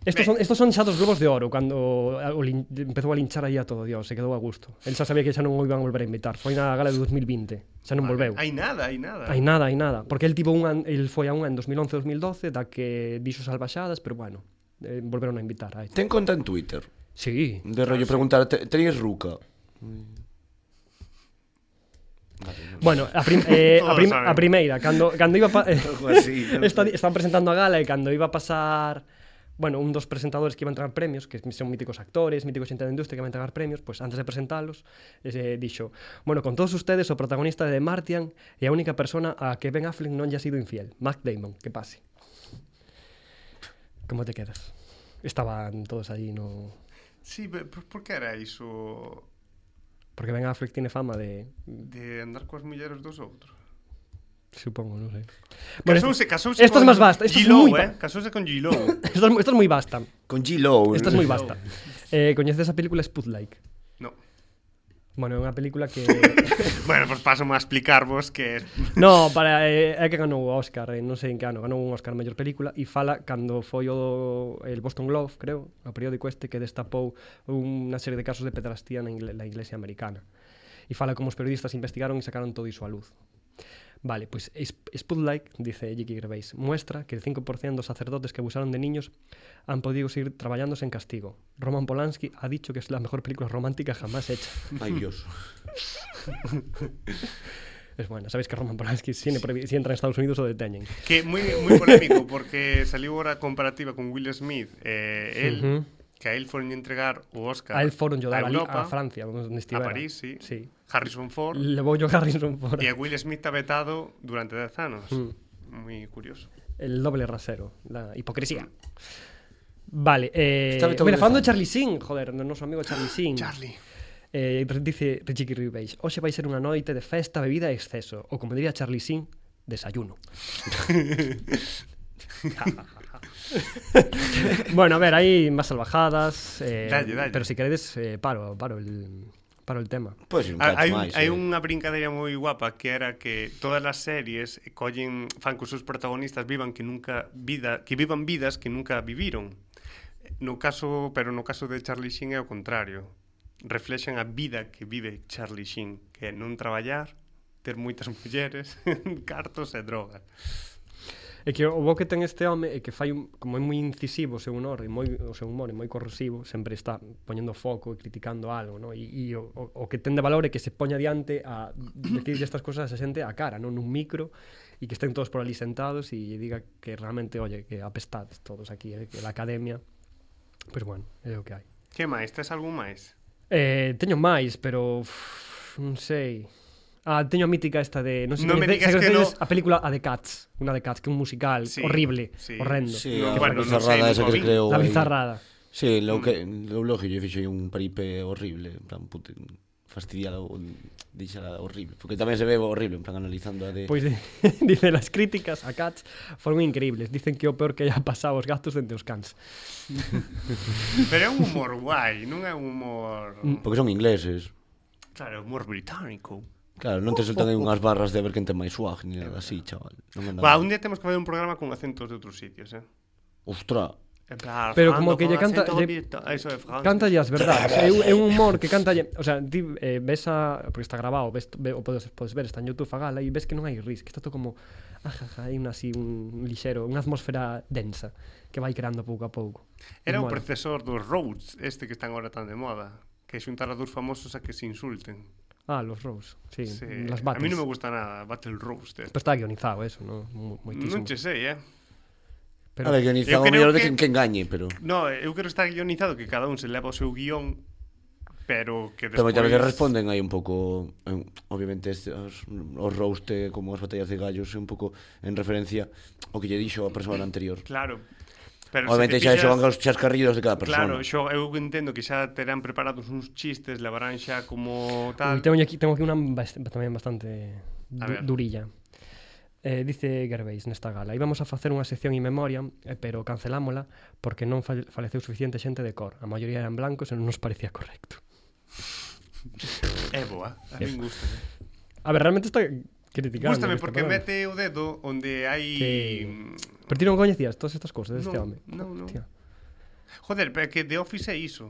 Speaker 2: Estos son, estos son xa dos globos de oro Cando a- o lin, empezou a linchar aí a todo Dios Se quedou a gusto El xa sabía que xa non o iban a volver a invitar Foi na gala de 2020 Xa non volveu
Speaker 1: Hai nada, hai nada.
Speaker 2: Hai nada, hai nada Porque el tivo unha, el foi a unha en 2011-2012 Da que dixo salvaxadas Pero bueno, eh, volveron a invitar a este
Speaker 3: Ten conta en Twitter.
Speaker 2: Sí,
Speaker 3: De rollo preguntar, "Te- tenéis ruca?
Speaker 2: Bueno, a, prim, eh, a,
Speaker 1: Todos
Speaker 2: prim,
Speaker 1: saben.
Speaker 2: a primeira, cando, cando iba pa, eh,
Speaker 3: Algo así, non
Speaker 2: esta,
Speaker 3: sei.
Speaker 2: estaban presentando a gala e cando iba a pasar bueno, un dos presentadores que iban a entregar premios, que son míticos actores, míticos xente da industria que van a entregar premios, pues antes de presentalos, eh, dixo, bueno, con todos ustedes o protagonista de The Martian e a única persona a que Ben Affleck non lle ha sido infiel, Matt Damon, que pase. Como te quedas? Estaban todos allí, no...
Speaker 1: Sí, pero por, por que era iso
Speaker 2: Porque Ben Affleck tiene fama de...
Speaker 1: de andar coas mulleres dos outros?
Speaker 2: Supongo, non sei. Bueno,
Speaker 1: Casouse,
Speaker 2: esto-
Speaker 1: casouse
Speaker 2: esto
Speaker 1: con
Speaker 2: es más basta. Esto es
Speaker 1: G-Lo,
Speaker 2: muy
Speaker 1: eh?
Speaker 2: ba-
Speaker 1: Casouse con Gilo.
Speaker 2: Esto es, mu- esto es muy basta.
Speaker 3: Con G-Low.
Speaker 2: Esto es muy basta. Eh, coñeces esa película Spotlight?
Speaker 1: no.
Speaker 2: Bueno, é unha película que...
Speaker 1: Bueno, pues paso a explicarvos que
Speaker 2: no, para, eh, é que ganou o Oscar, eh, non sei en que ano, ganou un Oscar a mellor película e fala cando foi o el Boston Globe, creo, o periódico este que destapou unha serie de casos de pedrastía na, ingle, na iglesia americana. E fala como os periodistas investigaron e sacaron todo iso a luz. Vale, pois pues, Spotlight, dice J.K. Gervais, muestra que el 5% dos sacerdotes que abusaron de niños han podido seguir traballando sen castigo. Roman Polanski ha dicho que es la mejor película romántica jamás hecha.
Speaker 3: Ay, Dios.
Speaker 2: Es bueno, sabéis que Roman Polanski si, ne- si entra en Estados Unidos lo deteñen.
Speaker 1: que moi moi polémico porque saliu ora a comparativa con Will Smith, eh, el
Speaker 2: Ujú.
Speaker 1: que a él foron entregar o Oscar.
Speaker 2: A él foron yo
Speaker 1: a
Speaker 2: dar a, li-
Speaker 1: Europa,
Speaker 2: a Francia, donde
Speaker 1: a
Speaker 2: estivera.
Speaker 1: París, sí.
Speaker 2: sí.
Speaker 1: Harrison Ford
Speaker 2: Le voy yo a Harrison Ford.
Speaker 1: e a Will Smith está vetado durante 10 anos.
Speaker 2: Mm.
Speaker 1: Moi curioso.
Speaker 2: El doble rasero, la hipocresía. Vale, eh,
Speaker 3: Está vetado
Speaker 2: mira,
Speaker 3: de
Speaker 2: falando de
Speaker 3: Francia.
Speaker 2: Charlie Singh, joder, do noso amigo Charlie Singh.
Speaker 1: Ah, Charlie.
Speaker 2: Eh, dice Ricky Gervais, hoxe vai ser unha noite de festa, bebida e exceso, ou como diría Charlie Singh, desayuno. bueno, a ver, hai máis salvajadas, eh,
Speaker 1: Dalle, dalle.
Speaker 2: pero se si queredes eh, paro, paro el paro el tema.
Speaker 3: Pois un cacho
Speaker 1: Hai un,
Speaker 3: máis.
Speaker 1: hai
Speaker 3: eh.
Speaker 1: unha brincadeira moi guapa que era que todas as series collen fan que os seus protagonistas vivan que nunca vida, que vivan vidas que nunca viviron. No caso, pero no caso de Charlie Sheen é o contrario. Reflexan a vida que vive Charlie Sheen, que é non traballar, ter moitas mulleres, cartos e drogas.
Speaker 2: É que o bo que ten este home é que fai un, como é moi incisivo o seu humor e moi o seu humor é moi corrosivo, sempre está poñendo foco e criticando algo, no? E, e o, o, o que ten de valor é que se poña diante a decirlle estas cousas a xente a cara, non nun micro e que estén todos por ali sentados e lle diga que realmente, oye, que apestades todos aquí, eh, que la academia. Pois pues bueno, é o que hai.
Speaker 1: Que máis? Tes algún máis?
Speaker 2: Eh, teño máis, pero uf, non sei. Ah, teño a mítica esta de... Non, sei,
Speaker 1: Non me
Speaker 2: coñece-
Speaker 1: digas
Speaker 2: se
Speaker 1: que
Speaker 2: coñecedes
Speaker 1: no.
Speaker 2: A película A de Cats, unha de Cats, que é un musical
Speaker 1: Sí,
Speaker 2: horrible,
Speaker 1: sí.
Speaker 2: horrendo.
Speaker 3: Sí,
Speaker 1: No,
Speaker 3: a
Speaker 1: bueno, non sei,
Speaker 3: bizarrada esa
Speaker 1: nunca
Speaker 3: que
Speaker 1: o vi.
Speaker 3: creo.
Speaker 2: La
Speaker 3: aí.
Speaker 2: bizarrada.
Speaker 3: Sí,
Speaker 2: Mm.
Speaker 3: lo que lo lógico, yo fixei un paripe horrible, en plan puto, fastidiada ou dixala horrible, porque tamén se ve horrible, en plan analizando a de
Speaker 2: Pois de, dice, las críticas a Cats foron increíbles. Dicen que é o peor que haya pasado os gatos dente os cans.
Speaker 1: Pero é un humor guai, non é un humor...
Speaker 2: Mm.
Speaker 3: porque son ingleses.
Speaker 1: Claro, humor británico.
Speaker 3: Claro, non te soltan aí unhas barras de a ver quen ten máis swag, ni nada así, chaval. Non é nada.
Speaker 1: Va, un día temos que fazer un programa con acentos de outros sitios, eh?
Speaker 3: Ostra.
Speaker 1: En plan,
Speaker 2: Pero
Speaker 1: Fernando
Speaker 2: como que
Speaker 1: con
Speaker 2: lle canta-
Speaker 1: acento
Speaker 2: lle-
Speaker 1: brita- Eso de Francia.
Speaker 2: Cántalle as verdades. É, un- é un humor que cántalle, o sea, ti eh, ves a porque está grabado, ves ve, o podes podes ver, está en YouTube a gala e ves que non hai ris, que está todo como ajaja, hai un así un, un lixero, unha atmosfera densa que vai creando pouco a pouco.
Speaker 1: Era o
Speaker 2: Mola.
Speaker 1: predecesor dos Rhodes, este que están agora tan de moda. Que xuntar a dos famosos a que se insulten.
Speaker 2: Ah, los Rose, sí,
Speaker 1: Sí.
Speaker 2: las
Speaker 1: A
Speaker 2: bates.
Speaker 1: mí non me gusta nada, Battle Roaster.
Speaker 2: Pero está guionizado eso, no, Mu-
Speaker 1: eh.
Speaker 2: moitísimo.
Speaker 1: Non che sei, eh?
Speaker 2: Pero
Speaker 3: a ver, guionizado
Speaker 1: eu creo
Speaker 3: mellor de
Speaker 1: que-
Speaker 3: quen que engañe, pero
Speaker 1: No, eu quero estar guionizado que cada un se leva o seu guión pero que
Speaker 3: Pero
Speaker 1: despois...
Speaker 3: moitas veces responden aí un pouco en- Obviamente este, os, os roast eh, Como as batallas de gallos Un pouco en referencia ao que lle dixo a persona anterior
Speaker 1: Claro. Pero
Speaker 3: Obviamente
Speaker 1: se te
Speaker 3: xa
Speaker 1: fixas-
Speaker 3: xogan os chascarrillos de cada persona
Speaker 1: Claro, xo, eu entendo que xa terán preparados uns chistes, levarán xa como
Speaker 2: Uy,
Speaker 1: tal...
Speaker 2: tengo aquí, tengo aquí una bast- tamén bastante
Speaker 1: A ver.
Speaker 2: du- durilla. Eh, dice Gervais nesta gala Íbamos a facer unha sección in memoria eh, Pero cancelámola porque non fal faleceu suficiente xente de cor A maioría eran blancos e non nos parecía correcto
Speaker 1: É boa, a min gusta.
Speaker 2: A ver, realmente está criticando
Speaker 1: Gústame
Speaker 2: este
Speaker 1: porque
Speaker 2: programa.
Speaker 1: mete o dedo onde hai...
Speaker 2: Que- Pero ti non coñecías todas estas cousas deste
Speaker 1: Non,
Speaker 2: home
Speaker 1: non, non.
Speaker 2: Hostia.
Speaker 1: Joder, pero é que The Office é iso.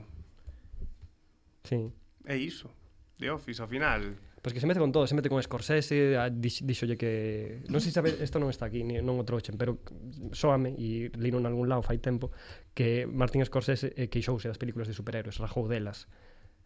Speaker 2: Sí
Speaker 1: É iso. The Office, ao final.
Speaker 2: Pois que se mete con todo, se mete con Scorsese, a- dix- díxolle que... Non sei se sabe, isto non está aquí, ni- non o trochen, pero soame, e lino en algún lado fai tempo, que Martin Scorsese eh, queixouse das películas de superhéroes, rajou delas.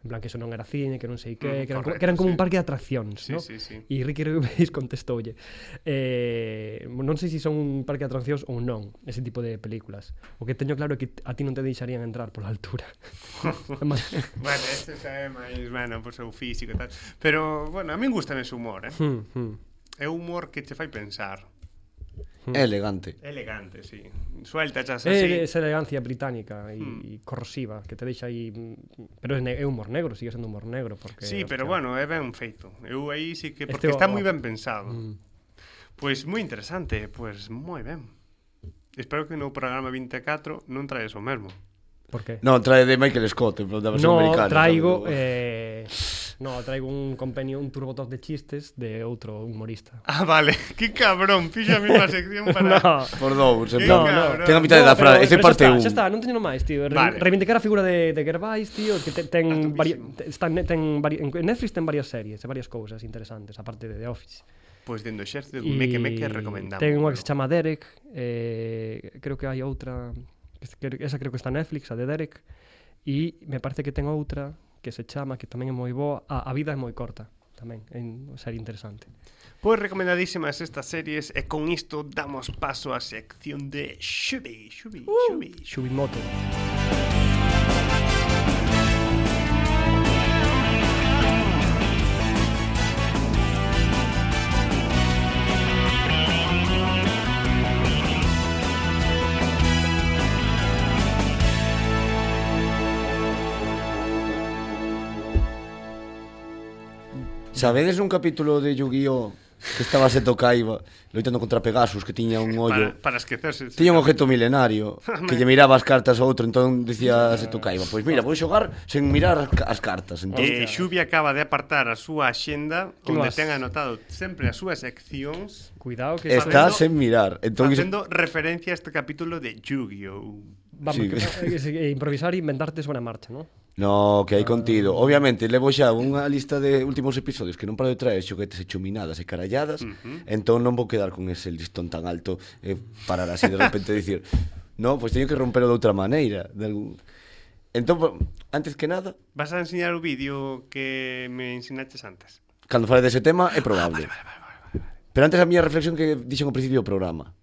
Speaker 2: En plan, que eso non era cine, que non sei que,
Speaker 1: Mm,
Speaker 2: que eran, co-
Speaker 1: correcto,
Speaker 2: que eran
Speaker 1: sí.
Speaker 2: como un parque de atraccións,
Speaker 1: Sí,
Speaker 2: ¿no?
Speaker 1: sí, sí.
Speaker 2: E Ricky Gervais contestoulle eh, Non sei se son un parque de atraccións ou non Ese tipo de películas O que teño claro é que a ti non te deixarían entrar pola altura Además,
Speaker 1: Bueno, ese xa é máis, bueno, por seu físico e tal. Pero, bueno, a min gusta ese humor, eh?
Speaker 2: hmm, hmm.
Speaker 1: É humor que che fai pensar.
Speaker 2: Mm.
Speaker 3: É elegante
Speaker 1: Elegante, sí. Suelta chas así. Hmm.
Speaker 2: É Eh, esa elegancia británica e mm. corrosiva que te deixa aí, mm, pero é, ne- é humor negro, sigue sendo humor negro porque
Speaker 1: Sí, pero
Speaker 2: hostia,
Speaker 1: bueno, é ben feito. Eu aí sí que
Speaker 2: Este Mm.
Speaker 1: porque
Speaker 2: o-
Speaker 1: está
Speaker 2: o-
Speaker 1: moi ben pensado. Pois moi interesante, pois moi ben. Espero que no programa 24 non traes o mesmo.
Speaker 2: por qué?
Speaker 3: No, trae de Michael Scott En plan da versión
Speaker 2: No,
Speaker 3: americana
Speaker 2: traigo
Speaker 3: sabe?
Speaker 2: eh, no, traigo un compenio, un turbotop de chistes de outro humorista.
Speaker 1: Ah, vale. Que cabrón, fixo a mesma sección para
Speaker 2: No.
Speaker 3: Por dous
Speaker 1: Que
Speaker 3: en plan,
Speaker 1: cabrón.
Speaker 3: Ten a mitad
Speaker 2: no,
Speaker 3: da
Speaker 2: pero-
Speaker 3: frase
Speaker 2: eh,
Speaker 3: Ese
Speaker 2: pero
Speaker 3: parte
Speaker 2: xa está,
Speaker 3: un
Speaker 2: Xa está, non teño máis, tío. Re
Speaker 1: Vale.
Speaker 2: Reivindicar a figura de, de Gervais, tío, que te, ten,
Speaker 1: Atovísimo.
Speaker 2: vari te, está, ne- ten vari en Netflix ten varias series, e varias cousas interesantes, aparte de The Office.
Speaker 1: Pois dentro xerce
Speaker 2: E
Speaker 1: me que me que recomendamos.
Speaker 2: Ten unha que se chama Derek, eh, creo que hai outra, que se- que- esa creo que está en Netflix, a de Derek, e me parece que ten outra que se chama, que tamén é moi boa, ah, a, a vida é moi corta, tamén, é unha serie interesante.
Speaker 1: Pois recomendadísimas estas series e con isto damos paso á sección de Xubi, Xubi,
Speaker 2: Uh.
Speaker 1: Xubi.
Speaker 2: Xubimoto.
Speaker 3: Sabedes un capítulo de Yu-Gi-Oh Que estaba Seto Kaiba Loitando contra Pegasus Que tiña un
Speaker 1: Para,
Speaker 3: ollo
Speaker 1: para esquecerse.
Speaker 3: Tiña un objeto milenario Que lle miraba as cartas a outro Entón dicía Seto Kaiba Pois mira, vou xogar sen mirar as ca- as cartas entón,
Speaker 1: Eh, Xubi acaba de apartar a súa axenda
Speaker 2: Que
Speaker 1: onde
Speaker 2: vas.
Speaker 1: ten anotado sempre as súas seccións
Speaker 2: Cuidado que...
Speaker 3: Está
Speaker 1: facendo-
Speaker 3: sen mirar entón, iso-
Speaker 1: facendo referencia a este capítulo de Yu-Gi-Oh!
Speaker 2: Vamos,
Speaker 3: Sí.
Speaker 2: que, eh, que, eh, improvisar e inventarte sobre a marcha, ¿no?
Speaker 3: No, que hai contido. Obviamente, levo xa unha lista de últimos episodios que non paro de traer xoguetes e chuminadas e caralladas, uh -huh. entón non vou quedar con ese listón tan alto e parar así de repente e dicir no, pois teño que rompelo de outra maneira. De algún... Entón, po- antes que nada,
Speaker 1: Vas a enseñar o vídeo que me ensinaches antes.
Speaker 3: cando fale dese tema, é
Speaker 1: Ah,
Speaker 3: probable. Pero antes a miña reflexión que dixen ao principio do programa,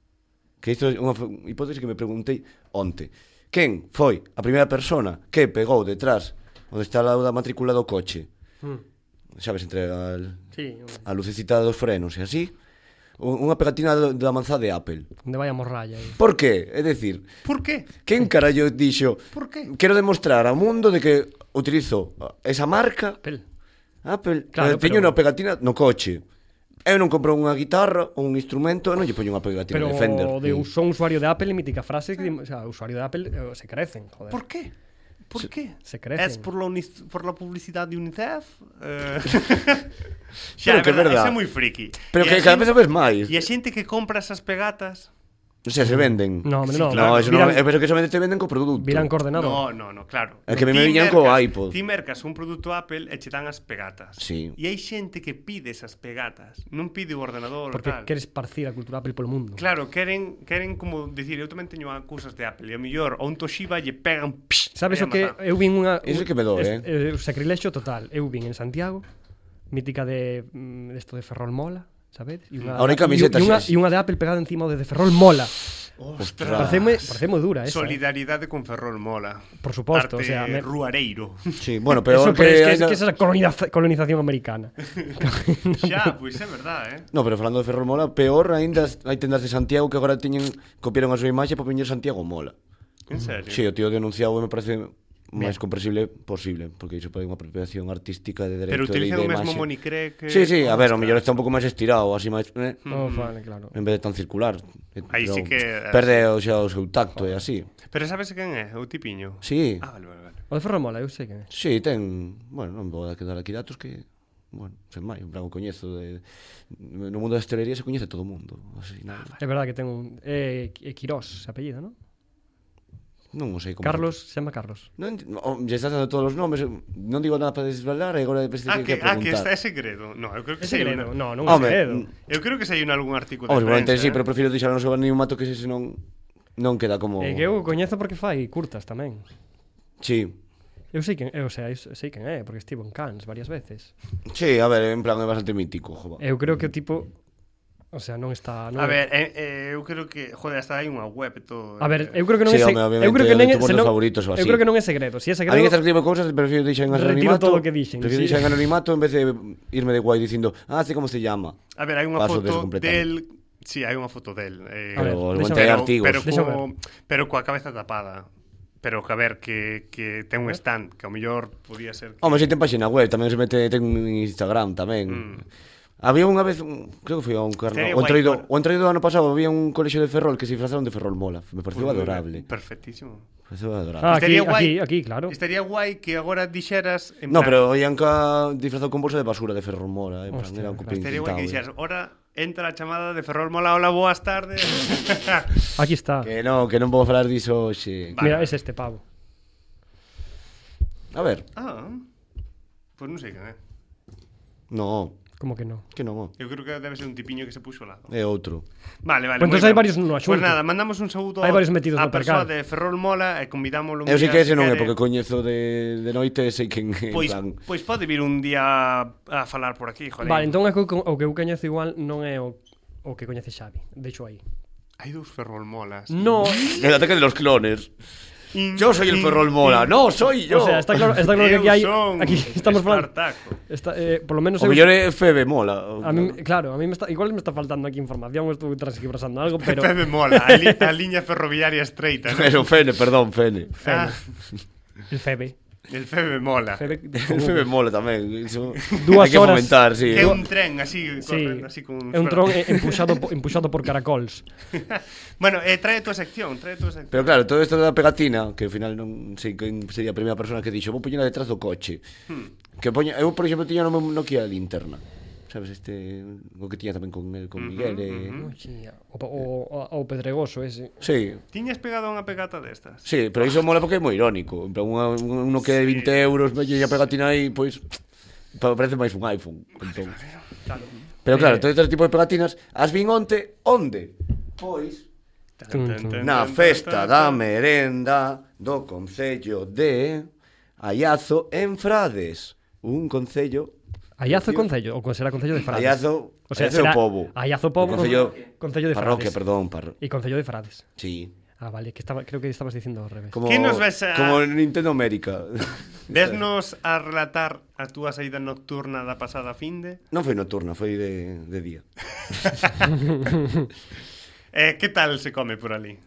Speaker 3: que isto é unha f- hipótese que me preguntei onte. Quen foi
Speaker 1: Hmm.
Speaker 3: a primeira persona que pegou detrás onde está a da matrícula do coche?
Speaker 2: Mm.
Speaker 3: sabes, entre al,
Speaker 2: Sí,
Speaker 3: a lucecita dos frenos e así, u- unha pegatina do- da manzá de Apple.
Speaker 2: onde vai a morralla. aí.
Speaker 3: Por que? É dicir,
Speaker 1: Por qué?
Speaker 3: quen carallo dixo
Speaker 1: Por que?
Speaker 3: Quero demostrar ao mundo de que utilizo esa marca
Speaker 2: Pel.
Speaker 3: Apple,
Speaker 2: Claro,
Speaker 3: claro, teño
Speaker 2: pero-
Speaker 3: unha pegatina no coche. Eu non compro unha guitarra ou un instrumento e non lle poño unha pegatina
Speaker 2: Pero
Speaker 3: de Fender.
Speaker 2: de, son usuario de Apple, mítica frase, que, o sea, usuario de Apple eh, se crecen, joder.
Speaker 1: ¿Por qué? ¿Por qué?
Speaker 2: se crecen.
Speaker 1: ¿Es por la, uni- por la publicidad de UNICEF? Eh,
Speaker 3: Pero que é verdad.
Speaker 1: Ese é moi friki.
Speaker 3: Pero
Speaker 1: E
Speaker 3: que
Speaker 1: a
Speaker 3: cada vez
Speaker 1: xente-
Speaker 3: o ves máis.
Speaker 1: E a xente que compra esas pegatas...
Speaker 3: O sea, se venden.
Speaker 2: No, hombre, no.
Speaker 3: No, eso
Speaker 2: Viran-
Speaker 3: non, eu penso que solamente te venden co produto.
Speaker 2: Viran coordenado.
Speaker 1: No, no, no, claro.
Speaker 3: É que me
Speaker 1: Ti
Speaker 3: viñan co
Speaker 1: mercas-
Speaker 3: iPod.
Speaker 1: Ti mercas un produto Apple e che dan as pegatas.
Speaker 3: Sí.
Speaker 1: E hai xente que pide esas pegatas. Non pide o ordenador
Speaker 2: porque
Speaker 1: tal.
Speaker 2: queres parcir a cultura Apple polo mundo.
Speaker 1: Claro, queren, queren como dicir, eu tamén teño cousas de Apple, e o mellor, a un Toshiba lle pegan... Psh, e
Speaker 2: Sabes
Speaker 1: a
Speaker 2: o que Eh,
Speaker 1: matar.
Speaker 2: eu vin unha
Speaker 3: Iso é que me dó,
Speaker 2: es- eh, o sacrilexio total. Eu vin en Santiago mítica de mm, de isto de Ferrol Mola, sabedes? E unha
Speaker 3: Ahora hai
Speaker 2: e
Speaker 3: camisetas,
Speaker 2: unha, e
Speaker 3: sí. Ah.
Speaker 2: unha de Apple pegada encima de, de Ferrol Mola.
Speaker 3: Ostras.
Speaker 2: Pareceme, pareceme dura esa. eh.
Speaker 1: Solidaridade con Ferrol Mola.
Speaker 2: Por suposto,
Speaker 1: Arte
Speaker 2: o sea, me-
Speaker 1: ruareiro.
Speaker 3: Sí, bueno, pero
Speaker 2: Eso, pero es que,
Speaker 3: hai
Speaker 2: es,
Speaker 3: na-
Speaker 2: que esa coloniza- colonización americana.
Speaker 1: Xa, pois é verdade, eh.
Speaker 3: No, pero falando de Ferrol Mola, peor aínda as- hai tendas de Santiago que agora tiñen copiaron a súa imaxe para poñer Santiago Mola.
Speaker 1: En serio.
Speaker 3: Sí, o tío denunciado me parece o máis comprensible posible, porque iso pode unha apropiación artística de
Speaker 1: Pero
Speaker 3: derecho de
Speaker 1: utilizan o
Speaker 3: de
Speaker 1: mesmo
Speaker 3: imaxe.
Speaker 1: monicré que...
Speaker 3: Sí, sí, a ver, o
Speaker 1: Ostras.
Speaker 3: mellor está un pouco máis estirado, así máis eh,
Speaker 2: no, Oh, vale, claro.
Speaker 3: en vez de tan circular. Eh,
Speaker 1: Aí
Speaker 3: Pero
Speaker 1: sí que- eh,
Speaker 3: perde o sea, o seu tacto e así.
Speaker 1: Pero sabes quen é? O tipiño?
Speaker 3: Sí.
Speaker 1: Ah, vale, vale, vale.
Speaker 2: O de Ferrol Mola, eu sei que é.
Speaker 3: Sí, ten, bueno, non vou dar aquí datos que bueno, sen máis, en plan o coñezo de no mundo da hostelería se coñece todo o mundo, así
Speaker 1: Ah,
Speaker 3: nada.
Speaker 2: É verdade que ten un eh, Qui- eh, Quirós, se apellido, ¿no?
Speaker 3: Non o sei como
Speaker 2: Carlos, se chama Carlos.
Speaker 3: Non, ent- o- lle estás dando todos os nomes, eu non digo nada para desvelar, e agora depois te
Speaker 1: Ah,
Speaker 3: teño
Speaker 1: que,
Speaker 3: que
Speaker 1: ah, que está é
Speaker 3: preguntar.
Speaker 1: segredo. No, eu creo que
Speaker 2: É
Speaker 1: sei
Speaker 2: segredo,
Speaker 1: una-
Speaker 2: no, non é
Speaker 3: Home,
Speaker 2: segredo.
Speaker 3: mm,
Speaker 1: Eu creo que sei en algún artículo de prensa.
Speaker 3: Hombre, probablemente sí,
Speaker 1: eh.
Speaker 3: pero prefiro deixar o seu anonimato que ese non non queda como
Speaker 2: É Eh, que eu o coñezo porque fai curtas tamén.
Speaker 3: Sí.
Speaker 2: Eu sei quen, eu, o sea, eu sei quen é, porque estivo en Cannes varias veces.
Speaker 3: Sí, a ver, en plan é bastante mítico, jova.
Speaker 2: Eu creo que o tipo O sea, non está non
Speaker 1: A ver, eh, eh, eu creo que, joder, hasta hai unha web e todo. eh,
Speaker 2: A ver, eu creo que non
Speaker 3: Sí,
Speaker 2: é se-
Speaker 3: home, obviamente,
Speaker 2: eu creo que
Speaker 3: é
Speaker 2: non é
Speaker 3: dos
Speaker 2: se
Speaker 3: meus
Speaker 2: non-
Speaker 3: favoritos ou
Speaker 2: Eu
Speaker 3: así.
Speaker 2: creo que non é segredo, si é
Speaker 3: A mí
Speaker 2: segredo.
Speaker 3: que estas tipo de cousas prefiero deixar en
Speaker 2: Retiro
Speaker 3: anonimato.
Speaker 2: todo o que dixen, sí.
Speaker 3: Prefiero deixar en anonimato en vez de irme de guai dicindo, ah, sei como se llama.
Speaker 1: A ver, hai unha foto
Speaker 3: Paso descompletado.
Speaker 1: del... Sí, hai unha foto del. Eh,
Speaker 2: A ver,
Speaker 3: Pero
Speaker 2: deixa
Speaker 3: aguantei
Speaker 2: ver.
Speaker 3: artigos.
Speaker 1: pero,
Speaker 2: Deixa
Speaker 1: co, pero coa cabeza tapada. Pero que a ver, que, que ten
Speaker 2: ¿Eh?
Speaker 1: un stand, que ao mellor podía ser... que-
Speaker 3: Home, si ten página web, tamén se mete ten en Instagram tamén. Había unha vez, un- creo que foi a un carna,
Speaker 1: Estaría Mm.
Speaker 3: o
Speaker 1: guai,
Speaker 3: entroido,
Speaker 1: claro.
Speaker 3: o entroido do ano pasado había un colexio de Ferrol que se disfrazaron de Ferrol Mola. Me pareceu adorable.
Speaker 1: Perfectísimo.
Speaker 3: Me pareceu adorable.
Speaker 2: Ah, aquí,
Speaker 1: Estaría guai.
Speaker 2: aquí, aquí, claro.
Speaker 1: Estaría guai que agora dixeras... En
Speaker 3: no,
Speaker 1: plan,
Speaker 3: pero ian ca disfrazado con bolsa de basura de Ferrol Mola, eh, en plan,
Speaker 2: Hostia,
Speaker 3: era un
Speaker 2: claro.
Speaker 3: copín
Speaker 1: Estaría guai que dixeras,
Speaker 3: pintado. eh.
Speaker 1: ora entra a chamada de Ferrol Mola, hola, boas tardes.
Speaker 2: Aquí está.
Speaker 3: eh. Que non, que non vou falar diso hoxe.
Speaker 1: Va.
Speaker 2: Mira, é este pavo.
Speaker 3: A ver,
Speaker 1: ah, pues pois non sei quen é.
Speaker 3: no,
Speaker 2: Como que non?
Speaker 3: que non, oh.
Speaker 1: Eu creo que debe ser un tipiño que se puxo ao lado.
Speaker 3: é outro.
Speaker 1: Vale, vale.
Speaker 2: Pues
Speaker 1: moi
Speaker 2: entonces hai
Speaker 1: ben.
Speaker 2: varios no
Speaker 1: Pues
Speaker 2: asunto.
Speaker 1: nada, mandamos un saúdo
Speaker 2: Hai varios metidos
Speaker 1: a
Speaker 2: no
Speaker 1: persoa
Speaker 2: percal.
Speaker 1: de Ferrol Mola e convidámoslo un
Speaker 3: Eu sei
Speaker 1: día,
Speaker 3: que
Speaker 1: se
Speaker 3: ese non é
Speaker 1: quere.
Speaker 3: porque coñezo de, de noite e sei quen é,
Speaker 1: eh.
Speaker 3: en
Speaker 1: Pois,
Speaker 3: plan.
Speaker 1: pois pode vir un día a falar por aquí, joder.
Speaker 2: Vale, entón é que o que eu coñezo igual non é o o que coñece Xavi, deixo aí.
Speaker 1: Hai dous Ferrol Molas.
Speaker 2: No,
Speaker 3: El ataque de los clones.
Speaker 1: In-
Speaker 3: Yo soy el
Speaker 1: in-
Speaker 3: Ferrol Mola,
Speaker 1: in-
Speaker 3: no, soy yo.
Speaker 2: o sea, está claro, está claro que
Speaker 1: Eu
Speaker 2: aquí hai
Speaker 1: son
Speaker 2: aquí estamos falando.
Speaker 1: Espartaco.
Speaker 2: Está, eh, por lo menos
Speaker 3: O
Speaker 2: eu-
Speaker 3: mellor é Febe Mola.
Speaker 2: A mí, claro, a mí me está, igual me está faltando aquí información, o estou transcribrasando algo, pero
Speaker 1: Pepe Mola, a, li, a liña ferroviaria estreita. ¿no?
Speaker 3: Pero Fene, perdón, Fene.
Speaker 1: Ah,
Speaker 2: el Febe,
Speaker 1: el Pepe Mola.
Speaker 2: Febe
Speaker 3: El Febe Mola tamén. Iso...
Speaker 2: Dúas
Speaker 3: Hai que
Speaker 2: horas.
Speaker 3: fomentar, sí.
Speaker 1: Que é un tren así,
Speaker 2: Sí,
Speaker 1: correndo, así con...
Speaker 2: é un tron eh, empuxado po- empuxado por caracols.
Speaker 1: bueno, eh, trae tu sección, trae tu sección.
Speaker 3: Pero claro, todo isto da pegatina, que ao final non sei quen sería a primeira persona que dixo, vou poñela detrás do coche.
Speaker 1: Hmm.
Speaker 3: Que poña, eu, por exemplo, tiña no meu Nokia linterna. Sabes, este, o que tiña tamén con el, con Miguel. eh. e...
Speaker 1: Mm.
Speaker 2: Oxía, o, pa- o, o, o pedregoso ese.
Speaker 3: Sí,
Speaker 1: Tiñas pegado unha pegata destas?
Speaker 3: Sí, pero iso mola porque é moi irónico. En plan, unha- un- uno que é 20 euros, melle a pegatina aí, pois pa- parece máis un iPhone. Entón. Pero claro,
Speaker 2: Eh.
Speaker 3: todo este tipo de pegatinas, as vin onte, onde? Pois, na festa da merenda do Concello de Ayazo en Frades. Un concello...
Speaker 2: Ayazo Concello, ou será Concello de Frades.
Speaker 3: Ayazo,
Speaker 2: o sea,
Speaker 3: Ayazo
Speaker 2: será
Speaker 3: é o povo.
Speaker 2: Ayazo Pobo,
Speaker 3: O Concello,
Speaker 2: Concello de
Speaker 3: parroquia,
Speaker 2: Frades.
Speaker 3: perdón, par...
Speaker 2: E Concello de Frades.
Speaker 3: Sí.
Speaker 2: Ah, vale, que estaba, creo que estabas diciendo al revés.
Speaker 3: Como,
Speaker 1: ¿Quién nos ves a-
Speaker 3: Como en Nintendo América.
Speaker 1: Vesnos a relatar a túa saída nocturna da pasada finde.
Speaker 3: non foi nocturna, foi de, de día.
Speaker 1: Eh, que tal se come por ali?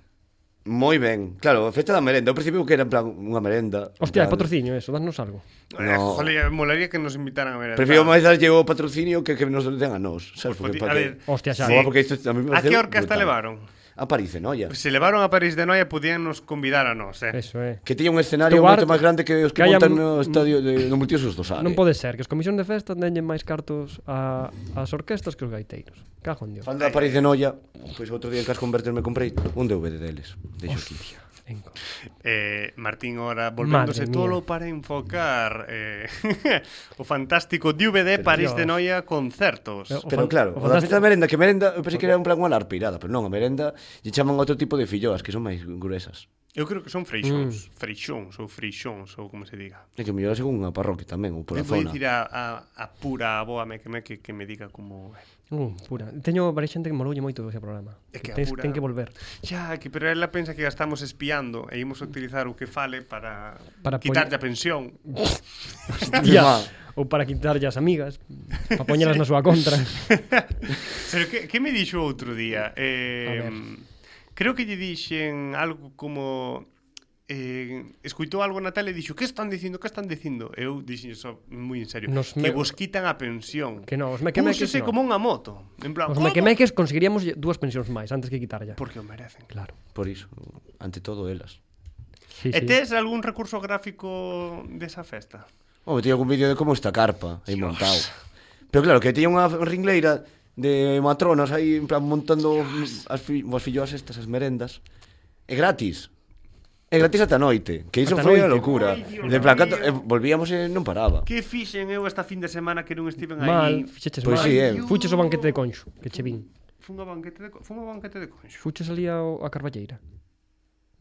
Speaker 3: Moi ben. Claro, a festa da merenda. Ao principio que era en plan unha merenda. en
Speaker 2: Hostia, é
Speaker 3: plan,
Speaker 2: patrocinio eso, danos algo.
Speaker 1: Eh,
Speaker 3: No.
Speaker 1: joder, molaría que nos invitaran a ver.
Speaker 3: Prefiero máis darlle o patrocinio que que nos den a nós. Sabes?
Speaker 1: Pues,
Speaker 3: Porque,
Speaker 1: poti- a
Speaker 3: para
Speaker 1: ver,
Speaker 3: que-
Speaker 2: Hostia, xa.
Speaker 3: Sí. Boa, porque isto a mí me
Speaker 1: A
Speaker 3: pareceu
Speaker 1: que orquesta
Speaker 3: brutal.
Speaker 1: levaron?
Speaker 3: A París, no, ya.
Speaker 1: Se levaron a París de Noia, podían nos convidar a nos, eh.
Speaker 2: Eso, eh.
Speaker 3: Que tiña un escenario
Speaker 2: Stuart,
Speaker 3: moito máis grande que os que,
Speaker 2: que haya
Speaker 3: montan
Speaker 2: un-
Speaker 3: no estadio de, no multiusos do Sare.
Speaker 2: Non pode ser que os comisión de festa teñen máis cartos a, as orquestas que os gaiteiros. Cajo en Dios.
Speaker 3: Falando da París de Noia, pois outro día en Cas Converter me comprei un DVD deles. Deixo aquí.
Speaker 2: Enco.
Speaker 1: Eh, Martín ora volvéndose
Speaker 2: Madre
Speaker 1: tolo
Speaker 2: mía.
Speaker 1: para enfocar eh, o fantástico DVD París de
Speaker 2: Dios.
Speaker 1: Noia concertos.
Speaker 2: Pero-
Speaker 3: Pero
Speaker 2: fan-
Speaker 3: claro,
Speaker 2: o
Speaker 3: o da
Speaker 2: fantástico-
Speaker 3: festa da merenda, que merenda, eu pensei que era un plan unha larpirada, pero non, a merenda lle chaman outro tipo de filloas, que son máis gruesas.
Speaker 1: Eu creo que son
Speaker 2: Mm.
Speaker 1: freixóns, freixóns ou freixóns ou como se diga.
Speaker 3: É que mellor según a parroquia tamén, ou por a
Speaker 1: Debo
Speaker 3: zona.
Speaker 1: dicir a, a, a pura aboa me que me que, que me diga como
Speaker 2: Uh, pura. Teño varias xente que moloulle moito ese programa.
Speaker 1: É que a
Speaker 2: Tens-
Speaker 1: pura-
Speaker 2: ten que volver.
Speaker 1: Ya, que pero ela pensa que gastamos espiando e imos utilizar o que fale para,
Speaker 2: Para
Speaker 1: quitarlle a
Speaker 2: poñer-
Speaker 1: pensión.
Speaker 2: Ya, ou para quitarlle as amigas, para poñelas na súa contra.
Speaker 1: Pero que, que me dixo outro día? Eh,
Speaker 2: A ver.
Speaker 1: creo que lle dixen algo como eh, escuitou algo na tele e dixo que están dicindo, que están dicindo? Eu dixen iso moi en serio,
Speaker 2: Nos
Speaker 1: que
Speaker 2: me-
Speaker 1: vos quitan a pensión.
Speaker 2: Que no, os mequemeques
Speaker 1: Púxose
Speaker 2: no.
Speaker 1: como unha moto. En plan,
Speaker 2: Os
Speaker 1: "¿Cómo?"
Speaker 2: mequemeques conseguiríamos lle- dúas pensións máis antes que quitarlle.
Speaker 1: Porque o merecen.
Speaker 2: Claro.
Speaker 3: Por iso, ante todo elas.
Speaker 2: Sí,
Speaker 1: E
Speaker 2: sí.
Speaker 1: tes algún recurso gráfico desa festa?
Speaker 3: Home, tiña algún vídeo de como está a carpa aí montado. Pero claro, que tiña unha ringleira de matronas aí en plan montando as, fi as filloas estas, as merendas. É gratis. É gratis ata a noite, que iso
Speaker 2: Ata
Speaker 3: foi a
Speaker 2: noite.
Speaker 3: locura.
Speaker 1: Ai, Dios
Speaker 3: de plan,
Speaker 1: mío.
Speaker 3: canto, eh, volvíamos e non paraba.
Speaker 1: Que fixen eu esta fin de semana que non estiven aí?
Speaker 2: Mal, fixeches
Speaker 3: Pois
Speaker 2: mal.
Speaker 3: sí, eh.
Speaker 2: Fuches o banquete de Conxo, que che vin.
Speaker 1: Fun a banquete de, co- fun a banquete de conxo.
Speaker 2: Fuches ali ao, a Carballeira.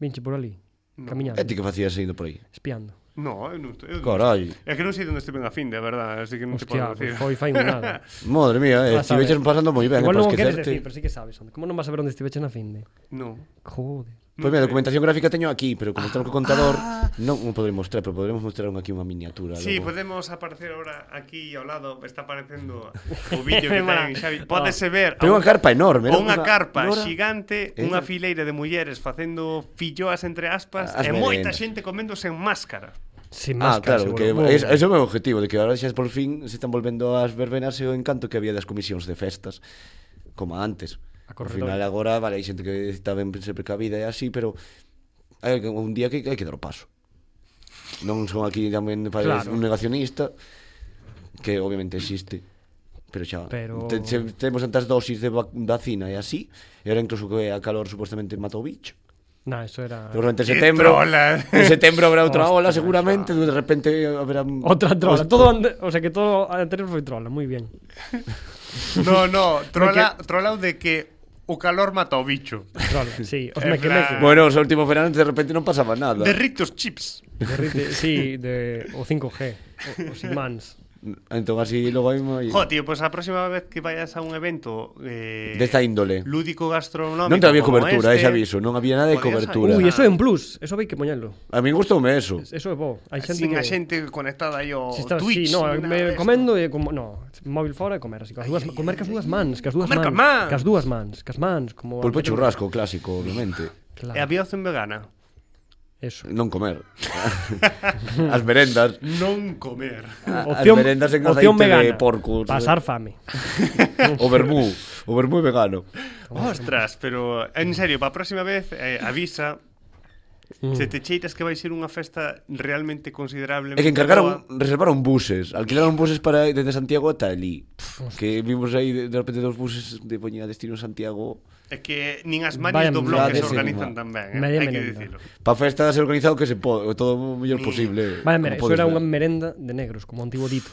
Speaker 2: Vinche por ali, no. camiñando,
Speaker 3: E ti que facías indo por aí?
Speaker 2: espiando.
Speaker 1: No, eu non estou. eu non
Speaker 3: Carallo.
Speaker 1: É que non sei onde estiven a fin, de verdade, así que non te podo
Speaker 2: Hostia, pues
Speaker 1: decir.
Speaker 2: foi fai un nada.
Speaker 3: Madre mía, eh,
Speaker 2: Ah, sabe.
Speaker 3: estiveches pasando moi ben, eh,
Speaker 2: Igual
Speaker 3: para
Speaker 2: non o queres
Speaker 3: esquecerte.
Speaker 2: decir, pero sí que sabes. onde. Como non vas a ver onde estiveches na finde?
Speaker 1: No.
Speaker 2: Joder.
Speaker 3: Pois mira, a documentación gráfica teño aquí, pero
Speaker 1: Ah.
Speaker 3: como estamos co contador, non o podrei mostrar, pero podremos mostrar unha aquí unha miniatura.
Speaker 1: Sí,
Speaker 3: logo.
Speaker 1: podemos aparecer ahora aquí ao lado, está aparecendo o vídeo que
Speaker 2: Mola.
Speaker 1: ten Xavi.
Speaker 2: Ah.
Speaker 1: Pódese ver
Speaker 3: Pero é unha carpa enorme,
Speaker 1: Unha carpa
Speaker 3: enorme.
Speaker 1: xigante,
Speaker 3: Eh.
Speaker 1: unha fileira de mulleres facendo filloas entre aspas
Speaker 3: As
Speaker 1: e moita
Speaker 3: merendas.
Speaker 1: xente comendo sen máscara.
Speaker 2: Sin
Speaker 3: Ah,
Speaker 2: máscara,
Speaker 3: claro,
Speaker 2: seguro.
Speaker 3: que
Speaker 2: Wow.
Speaker 3: es, ese é o meu objetivo, de que agora xa por fin se están volvendo as verbenas e o encanto que había das comisións de festas, como antes.
Speaker 2: A
Speaker 3: Ao
Speaker 2: corredor.
Speaker 3: final agora, vale, hai xente que está ben se precavida e así, pero hai que- un día que hai que dar o paso. Non son aquí tamén para
Speaker 2: Claro.
Speaker 3: un negacionista, que obviamente existe, pero xa
Speaker 2: Pero-
Speaker 3: te, se, temos tantas dosis de vac- vacina e así, e ahora incluso que a calor supostamente mata o bicho.
Speaker 2: Nah, eso era...
Speaker 3: Seguramente en
Speaker 1: Que
Speaker 3: setembro.
Speaker 1: trola.
Speaker 3: En setembro habrá otra
Speaker 2: Ostras,
Speaker 3: ola, seguramente. De repente habrá. un-
Speaker 2: Otra trola.
Speaker 3: Ostras.
Speaker 2: Todo ande... O sea que todo anterior foi trola, moi bien.
Speaker 1: No, no, trola, trola de que o calor mata o bicho.
Speaker 2: Trola, sí. Os
Speaker 1: En
Speaker 2: meque
Speaker 1: plan-
Speaker 2: meque.
Speaker 3: Bueno, os últimos veranos de repente non pasaba nada.
Speaker 1: Derritos chips.
Speaker 2: Derrite, sí, de, o 5G, o, os imáns.
Speaker 3: Entón así logo hai moi...
Speaker 1: Jo, tío, pois pues a próxima vez que vayas a un evento eh,
Speaker 3: Desta índole.
Speaker 1: lúdico gastronómico
Speaker 3: Non te había
Speaker 1: como
Speaker 3: cobertura,
Speaker 1: este,
Speaker 3: ese aviso. Non había nada de
Speaker 1: podías
Speaker 3: cobertura.
Speaker 1: Ui,
Speaker 2: Ui, eso é un plus, eso hai que poñalo.
Speaker 3: A mí gustoume eso.
Speaker 2: Eso é bo. Hai xente
Speaker 1: Sin
Speaker 2: que...
Speaker 1: a xente conectada aí ao
Speaker 2: Si está,
Speaker 1: Twitch.
Speaker 2: sí, no,
Speaker 1: nin nada
Speaker 2: me
Speaker 1: desto.
Speaker 2: comendo e como, no, móvil fora e comer así, cas dúas, comer cas dúas mans, cas dúas
Speaker 1: Comer
Speaker 2: mans,
Speaker 1: coas mans.
Speaker 2: cas dúas mans, cas mans, como
Speaker 3: Pulpo e churrasco, clásico,
Speaker 1: E
Speaker 3: obviamente.
Speaker 1: Eh,
Speaker 2: Claro,
Speaker 1: había opción vegana.
Speaker 2: eso.
Speaker 3: Non comer. As merendas.
Speaker 1: Non comer.
Speaker 3: As merendas en aceite de porco.
Speaker 2: Pasar fame.
Speaker 3: O vermú. O vermú vegano.
Speaker 1: Ostras, pero en serio, para a próxima vez eh, avisa
Speaker 2: Mm.
Speaker 1: Se te cheiras que vai ser unha festa realmente considerable
Speaker 3: É que encargaron, reservaron buses, alquilaron buses para ir desde Santiago ata ali. Que vimos aí de, de repente dos buses de poñía destino Santiago.
Speaker 1: É que nin as
Speaker 2: Vaya
Speaker 1: manis do bloque se
Speaker 3: merenda.
Speaker 1: organizan tan ben eh?
Speaker 2: Media
Speaker 1: Hai que dicilo
Speaker 2: merenda.
Speaker 3: Pa festa se organizado que se pode, o todo o
Speaker 1: Mm.
Speaker 3: mellor posible.
Speaker 2: Vale,
Speaker 3: como
Speaker 2: mira, eso
Speaker 3: podes
Speaker 2: era
Speaker 3: ver.
Speaker 2: unha merenda de negros, como antigo dito.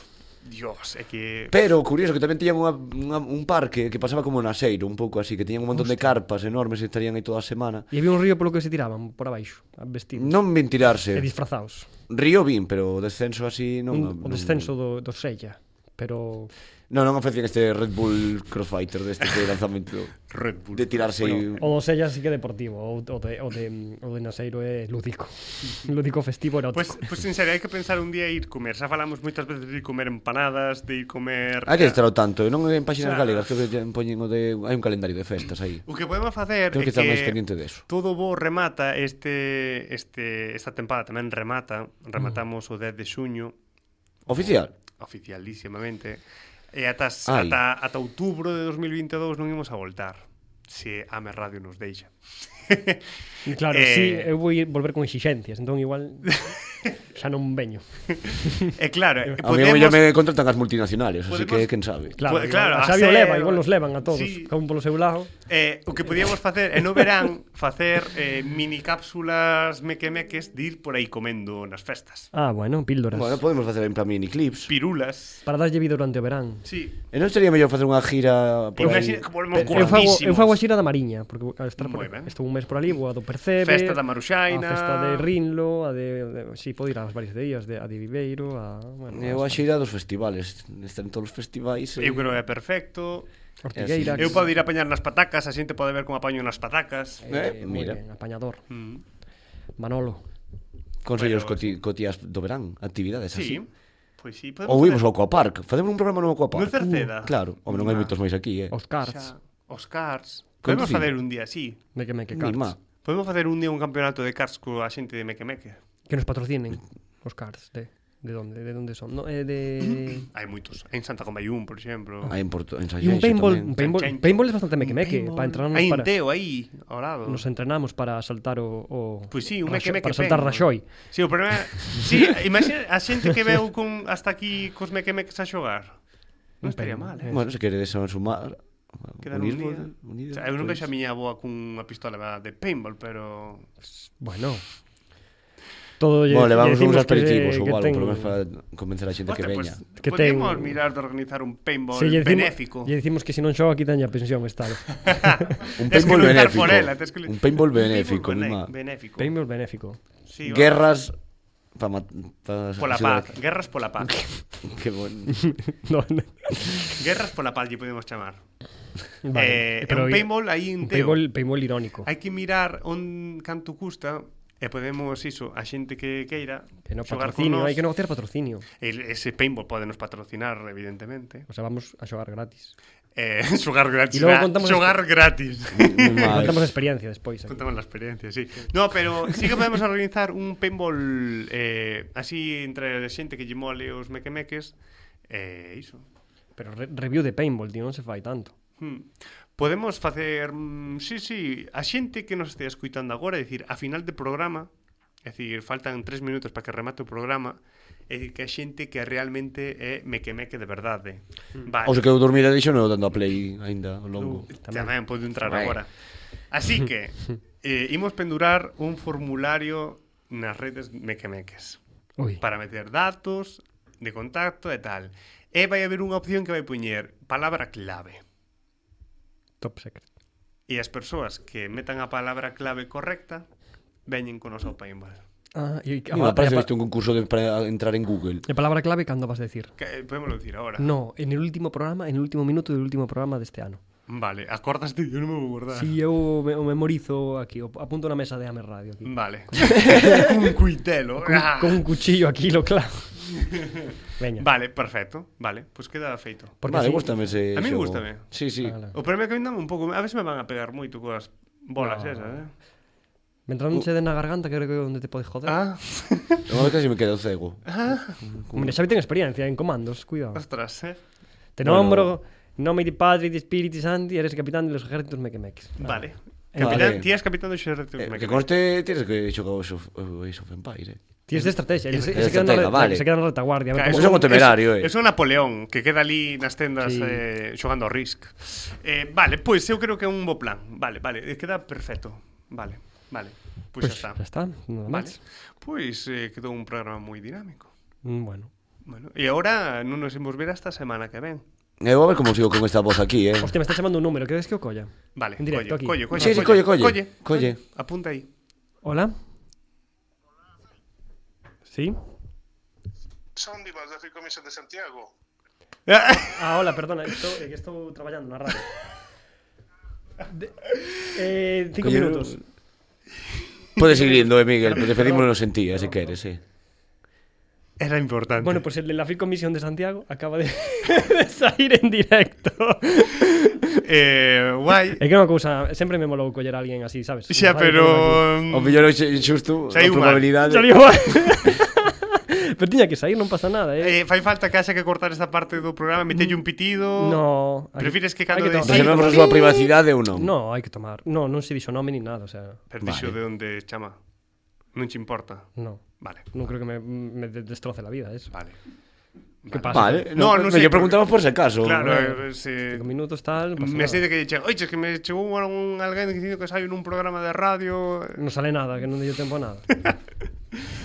Speaker 1: Dios, é que...
Speaker 3: Pero curioso que tamén tiñan unha, unha, un parque que pasaba como naseiro, un pouco así, que tiñan un montón de carpas enormes e estarían aí toda a semana.
Speaker 2: E había un río polo que se tiraban por abaixo, vestidos
Speaker 3: Non
Speaker 2: e
Speaker 3: mentirarse.
Speaker 2: disfrazados.
Speaker 3: Río vin, pero o descenso así
Speaker 2: Un,
Speaker 3: non...
Speaker 2: o descenso do, do Sella. Pero
Speaker 3: Non, non ofrecían este Red Bull Crossfighter deste de lanzamento
Speaker 1: Red Bull.
Speaker 3: de tirarse bueno,
Speaker 2: o do Sella sí que é deportivo, o, o, de, o, de, o de Naseiro é lúdico. lúdico festivo
Speaker 1: Pues,
Speaker 2: erótico.
Speaker 1: pues en serio, hai que pensar un día ir comer. Xa falamos moitas veces de ir comer empanadas, de ir comer...
Speaker 3: Hai Ah, que estar ao tanto, e non en páxinas
Speaker 1: Xa.
Speaker 3: galegas, creo que lle poñen o de hai un calendario de festas aí.
Speaker 1: O que podemos facer
Speaker 3: Creo
Speaker 1: é
Speaker 3: que
Speaker 1: que,
Speaker 3: está máis pendiente deso.
Speaker 1: todo bo remata este, este, esta temporada tamén remata, rematamos o 10 de xuño
Speaker 3: Oficial.
Speaker 1: oficialísimamente e ata,
Speaker 3: Ai.
Speaker 1: ata, ata outubro de 2022 non imos a voltar se Ame Radio nos deixa
Speaker 2: E Claro,
Speaker 1: Eh,
Speaker 2: eh... sí, eu vou ir volver con exixencias, entón igual xa non veño.
Speaker 1: e claro,
Speaker 3: A mí
Speaker 1: podemos...
Speaker 3: ya me contratan as multinacionales, así
Speaker 1: Podemos-
Speaker 3: que quen sabe.
Speaker 2: Claro,
Speaker 1: Pues,
Speaker 2: pues,
Speaker 1: claro,
Speaker 2: claro, a
Speaker 1: a
Speaker 2: Xavi o
Speaker 1: ser-
Speaker 2: leva, igual nos levan a todos,
Speaker 1: Sí.
Speaker 2: sí. cada un polo seu lado.
Speaker 1: Eh, o que podíamos facer é no verán facer eh, mini cápsulas mequemeques de ir por aí comendo nas festas.
Speaker 2: Ah, bueno, píldoras.
Speaker 3: Bueno, podemos facer en plan mini clips.
Speaker 1: Pirulas.
Speaker 2: Para darlle vida durante o verán.
Speaker 1: Sí.
Speaker 3: E non sería mellor facer unha gira
Speaker 1: Eu
Speaker 3: por aí?
Speaker 1: imagino que volvemos
Speaker 2: Eu fago,
Speaker 1: curtísimos.
Speaker 2: eu fago a xira da Mariña, porque ao estar por,
Speaker 1: Moi ben.
Speaker 2: estou un mes por ali, vou a do Percebe,
Speaker 1: Festa da Maruxaina.
Speaker 2: a festa de Rinlo, a de, de si sí, podo ir ás varias de illas, de, a de Viveiro, a... Bueno,
Speaker 3: Eu a xira dos festivales. Están todos os festivais. e-
Speaker 1: Eu creo que é perfecto.
Speaker 2: Ortigueira.
Speaker 3: así.
Speaker 1: Eu podo ir a apañar nas patacas, a xente pode ver como apaño nas patacas.
Speaker 3: Eh,
Speaker 2: moi
Speaker 3: mira.
Speaker 2: ben, apañador.
Speaker 1: Mm.
Speaker 2: Manolo.
Speaker 3: Consellos
Speaker 1: Bueno,
Speaker 3: coti cotías do verán, actividades
Speaker 1: Sí.
Speaker 3: así.
Speaker 1: Pois sí,
Speaker 3: Ou
Speaker 1: facer-
Speaker 3: imos ao Aquapark, facemos un programa no Aquapark.
Speaker 1: No Cerceda.
Speaker 3: Claro, home, non hai moitos máis aquí, eh.
Speaker 2: Os
Speaker 1: Xa,
Speaker 2: cards.
Speaker 1: Os cards.
Speaker 3: Con
Speaker 1: Podemos
Speaker 3: fin.
Speaker 1: facer un día así.
Speaker 2: Me que me que
Speaker 3: Ni
Speaker 2: cards.
Speaker 3: má.
Speaker 1: Podemos facer un día un campeonato de cards coa xente de Mequemeque.
Speaker 2: Que nos patrocinen os cards de de onde de onde son? No, eh, de
Speaker 1: Hai moitos. En Santa Combayún, por exemplo.
Speaker 3: Hai en Porto, en San
Speaker 2: E un paintball, un
Speaker 3: tamén.
Speaker 2: paintball,
Speaker 1: Chancho.
Speaker 2: paintball é bastante meque-meque
Speaker 1: paintball.
Speaker 2: para entrenarnos
Speaker 1: Hai un
Speaker 2: para
Speaker 1: teo aí, ao lado.
Speaker 2: nos entrenamos para saltar o, o
Speaker 1: Pois sí, un
Speaker 2: Raxo-
Speaker 1: meque meque
Speaker 2: para saltar
Speaker 1: paintball.
Speaker 2: Raxoi.
Speaker 1: Sí, o problema é... Sí, imagina a xente que veu con hasta aquí cos mequemeques a xogar. Non estaría mal, eh?
Speaker 3: Bueno, se queredes sumar
Speaker 1: Quedar un día. O sea, eu non vexo a miña avoa cunha pistola de paintball, pero...
Speaker 2: Bueno. Todo lle-
Speaker 3: Bueno,
Speaker 2: lle
Speaker 3: levamos
Speaker 2: decimos
Speaker 3: uns
Speaker 2: que-
Speaker 3: aperitivos ou
Speaker 2: que
Speaker 3: algo,
Speaker 2: ten-
Speaker 3: por lo menos para convencer a xente que
Speaker 1: Hostia,
Speaker 3: veña.
Speaker 2: Que
Speaker 1: podemos
Speaker 2: ten-
Speaker 1: mirar de organizar un paintball
Speaker 2: Se lle decimos-
Speaker 1: benéfico.
Speaker 2: Lle decimos que se non xoga quitan a pensión esta. vez.
Speaker 3: Un
Speaker 1: Tes que
Speaker 3: paintball
Speaker 1: luchar
Speaker 3: benéfico.
Speaker 1: por ela, tes que lu-
Speaker 3: Un paintball benéfico,
Speaker 1: bene-
Speaker 3: mima.
Speaker 1: benéfico.
Speaker 2: Paintball benéfico.
Speaker 1: Sí, o-
Speaker 3: Guerras pa mat- pa
Speaker 1: Pola
Speaker 3: axudar a-
Speaker 1: paz, guerras pola paz.
Speaker 3: Que bon.
Speaker 2: No, no.
Speaker 1: Eh, guerras pola paz lle podemos chamar.
Speaker 2: Vale,
Speaker 1: eh,
Speaker 2: pero
Speaker 1: un paintball aí
Speaker 2: un
Speaker 1: en teo.
Speaker 2: paintball, paintball irónico.
Speaker 1: Hai que mirar on canto custa e podemos iso a xente que queira
Speaker 2: Que no
Speaker 1: xogar
Speaker 2: patrocinio,
Speaker 1: con nós.
Speaker 2: hai que negociar patrocinio.
Speaker 1: El, ese paintball pode nos patrocinar, evidentemente.
Speaker 2: O sea, vamos a xogar gratis.
Speaker 1: Eh, xogar gratis.
Speaker 2: Y luego
Speaker 1: na-
Speaker 2: contamos
Speaker 1: xogar gratis.
Speaker 3: Mima.
Speaker 2: Contamos a experiencia despois. aquí.
Speaker 1: Contamos la experiencia, sí. No, pero sí que podemos organizar un paintball eh, así entre a xente que lle mole os mequemeques e eh, iso.
Speaker 2: Pero re- review de paintball, tío, non se fai tanto.
Speaker 1: Hmm. Podemos facer, mm, sí, sí, a xente que nos estea escuitando agora, é dicir, a final de programa, é dicir, faltan tres minutos para que remate o programa, é dicir, que a xente que realmente é mequemeque de verdade. Vale.
Speaker 3: O se quedou dormida deixo non dando a play aínda ao longo.
Speaker 1: Tamén, tamén pode entrar agora. Así que eh, imos pendurar un formulario nas redes mequemeques
Speaker 2: Ui.
Speaker 1: para meter datos de contacto e tal. E vai haber unha opción que vai poñer palabra clave.
Speaker 2: Top secret.
Speaker 1: E as persoas que metan a palabra clave correcta veñen con ao paintball.
Speaker 2: Ah, e que- ah,
Speaker 3: Mima,
Speaker 2: e
Speaker 3: parece
Speaker 2: a-
Speaker 3: isto un concurso de para entrar en Google.
Speaker 2: E a palabra clave cando vas a decir?
Speaker 1: Que, eh, podemos dicir ahora.
Speaker 2: No, en el último programa, en el último minuto del último programa deste ano.
Speaker 1: Vale, acordaste? Eu non me vou guardar.
Speaker 2: Si eu me, o memorizo aquí, o apunto na mesa de Ame Radio aquí.
Speaker 1: Vale. Cun cuitelo.
Speaker 2: Con,
Speaker 1: Ah.
Speaker 2: con un cuchillo aquí lo clavo. Veña.
Speaker 1: Vale, perfecto. Vale, pois pues queda feito.
Speaker 2: Porque
Speaker 3: vale,
Speaker 2: así-
Speaker 3: gústame
Speaker 1: A
Speaker 3: ese
Speaker 1: min
Speaker 3: xogo.
Speaker 1: gústame.
Speaker 2: eh.
Speaker 3: Sí, sí.
Speaker 2: Ala.
Speaker 1: O problema é que vindame un pouco, a ver se me van a pegar moito coas bolas no.
Speaker 2: No.
Speaker 1: esas, eh?
Speaker 2: Mentre non che den na garganta, creo que é onde te podes joder.
Speaker 1: Uh. Ah,
Speaker 3: Agora casi me quedo cego.
Speaker 2: Hombre, Xavi ten experiencia en comandos, cuidado.
Speaker 1: ostras, eh?
Speaker 2: Te
Speaker 3: Bueno.
Speaker 2: nombro, en nome de Padre, de Espíritu Santo, eres capitán de los ejércitos mequemeques.
Speaker 1: Vale.
Speaker 2: Eh,
Speaker 1: Capitán,
Speaker 3: Ah. vale.
Speaker 1: ti és capitán do xerreto.
Speaker 3: Eh, que conste, tienes que xogar o Iso- o Iso Empire, eh.
Speaker 2: Tienes de estrategia, eles-
Speaker 3: Es
Speaker 2: eles se quedan na
Speaker 3: estratega,
Speaker 2: re-
Speaker 3: vale.
Speaker 2: se quedan na retaguardia. a ver
Speaker 1: Claro,
Speaker 2: como-
Speaker 3: Eso é un temerario, eh.
Speaker 1: Es, un Napoleón que queda ali nas tendas sí.
Speaker 2: Sí.
Speaker 1: eh, xogando ao Risk. Eh, vale, pois eu creo que é un bo plan. Vale, vale, eh, queda perfecto. Vale, vale. Pois
Speaker 2: Pues,
Speaker 1: pues, xa está.
Speaker 2: Ya está, nada
Speaker 1: Vale.
Speaker 2: máis.
Speaker 1: Pois eh, quedou un programa moi dinámico.
Speaker 2: Mm, Bueno.
Speaker 1: Bueno, e agora non nos imos ver hasta a semana que ven.
Speaker 3: Eu Eh, a ver como sigo con esta voz aquí, eh.
Speaker 2: Hostia, me está chamando un número, ¿crees que o colla?
Speaker 1: Vale,
Speaker 2: En directo, aquí.
Speaker 1: colle, colle,
Speaker 3: Sí, sí, colle, colle. Colle.
Speaker 1: Apunta aí.
Speaker 2: Hola. Sí.
Speaker 6: Son divas da Ficomision de Santiago.
Speaker 2: Ah, hola, perdona, estou, eh, que estou traballando na radio. De, eh, cinco
Speaker 3: Coño,
Speaker 2: minutos.
Speaker 3: Podes seguir indo, eh, Miguel, pero despedímonos en ti, se queres, eh.
Speaker 1: Era importante.
Speaker 2: Bueno, pues el de la FIL Comisión de Santiago acaba de, de sair en directo.
Speaker 1: eh, guai.
Speaker 2: É que é unha cousa, sempre me molou coller a alguén así, sabes?
Speaker 1: Xa,
Speaker 2: Na radio, todo
Speaker 1: pero...
Speaker 3: O mellor hoxe injusto,
Speaker 1: Sei unha.
Speaker 3: a
Speaker 2: aquí.
Speaker 3: probabilidade.
Speaker 2: Saliu mal. pero tiña que sair, non pasa nada, eh.
Speaker 1: Eh, fai falta que haxa que cortar esta parte do programa, metelle un pitido.
Speaker 2: no. hai-
Speaker 1: prefires que
Speaker 2: hai
Speaker 1: cando
Speaker 2: tomar-
Speaker 1: deixe-
Speaker 3: Reservamos a súa privacidade ou non?
Speaker 2: No, hai que tomar. No, non se dixo nome ni nada, o sea,
Speaker 1: Pero dixo
Speaker 3: Vale.
Speaker 1: de onde chama. Non che importa.
Speaker 2: no.
Speaker 1: Vale.
Speaker 2: Non creo que me, me de- destroce la vida eso.
Speaker 1: Vale.
Speaker 2: Que pasa?
Speaker 3: Vale,
Speaker 1: No, non sei,
Speaker 3: mellor preguntamos por se acaso.
Speaker 1: Claro, eh,
Speaker 2: Vale.
Speaker 1: se...
Speaker 2: Cinco minutos tal, non este pasa
Speaker 1: Me
Speaker 2: nada.
Speaker 1: sei de que dixen, oiche, que me chegou un alguén dicindo que saio nun programa de radio... eh.
Speaker 2: Non sale nada, que non dio tempo a nada.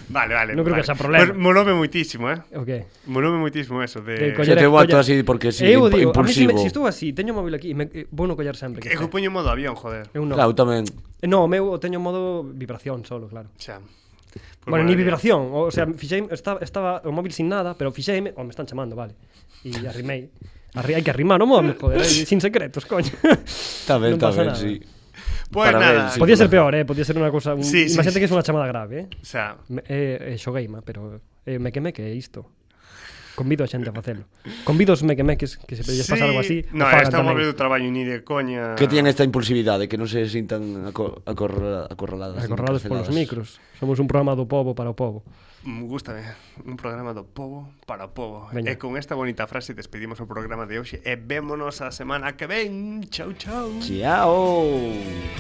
Speaker 1: Vale, vale.
Speaker 2: Non
Speaker 1: vale.
Speaker 2: creo que haxa problema.
Speaker 1: Pero molome moitísimo, eh?
Speaker 2: O que?
Speaker 1: Molome moitísimo eso de...
Speaker 2: De
Speaker 3: Yo
Speaker 2: coller-
Speaker 3: te
Speaker 2: coller-
Speaker 3: boto así porque si,
Speaker 2: eu
Speaker 3: imp-
Speaker 2: digo, Eh, a mí se
Speaker 3: impulsivo.
Speaker 2: me, si estou así, teño o móvil aquí, e me, eh, vou no collar sempre. Que
Speaker 1: Que eu
Speaker 2: está.
Speaker 1: poño en modo avión, joder.
Speaker 2: eu non.
Speaker 3: Claro, tamén.
Speaker 2: Eh, No, o meu o teño en modo vibración solo, claro.
Speaker 1: Xa. Pois
Speaker 2: Pues bueno, ni
Speaker 1: madre mía.
Speaker 2: vibración, o, o sea, fixei, estaba, estaba o móvil sin nada, pero fixeime, o me están chamando, vale. E arrimei. Arri, hai que arrimar o móvil, joder, eh, sin secretos, coño.
Speaker 3: Está ben,
Speaker 2: Non
Speaker 3: está
Speaker 2: pasa
Speaker 3: ben,
Speaker 2: nada.
Speaker 3: sí.
Speaker 1: Pois Pues
Speaker 3: Para
Speaker 1: nada.
Speaker 3: ver, sí.
Speaker 2: Podía ser peor, eh, podía ser unha cousa, un,
Speaker 1: Sí, sí,
Speaker 2: imagínate
Speaker 1: sí.
Speaker 2: que é unha chamada grave, eh.
Speaker 1: O sea,
Speaker 2: Me, eh, eh xogueima, pero eh, me que me que é isto. Convido a xente a facelo. Convido os mequemeques que se pedes pasar algo así,
Speaker 1: No,
Speaker 2: o fagan
Speaker 1: esta
Speaker 2: tamén.
Speaker 1: móvil do traballo ni de coña.
Speaker 3: Que tiñan esta impulsividade, que non se sintan aco acorra- acorraladas.
Speaker 2: Acorralados polos
Speaker 3: encarceladas.
Speaker 2: micros. Somos un programa do povo para o povo.
Speaker 1: Me gusta un programa do povo para o povo.
Speaker 2: Veña.
Speaker 1: E con esta bonita frase despedimos o programa de hoxe e vémonos a semana que ven. Chau, chau.
Speaker 3: Chao.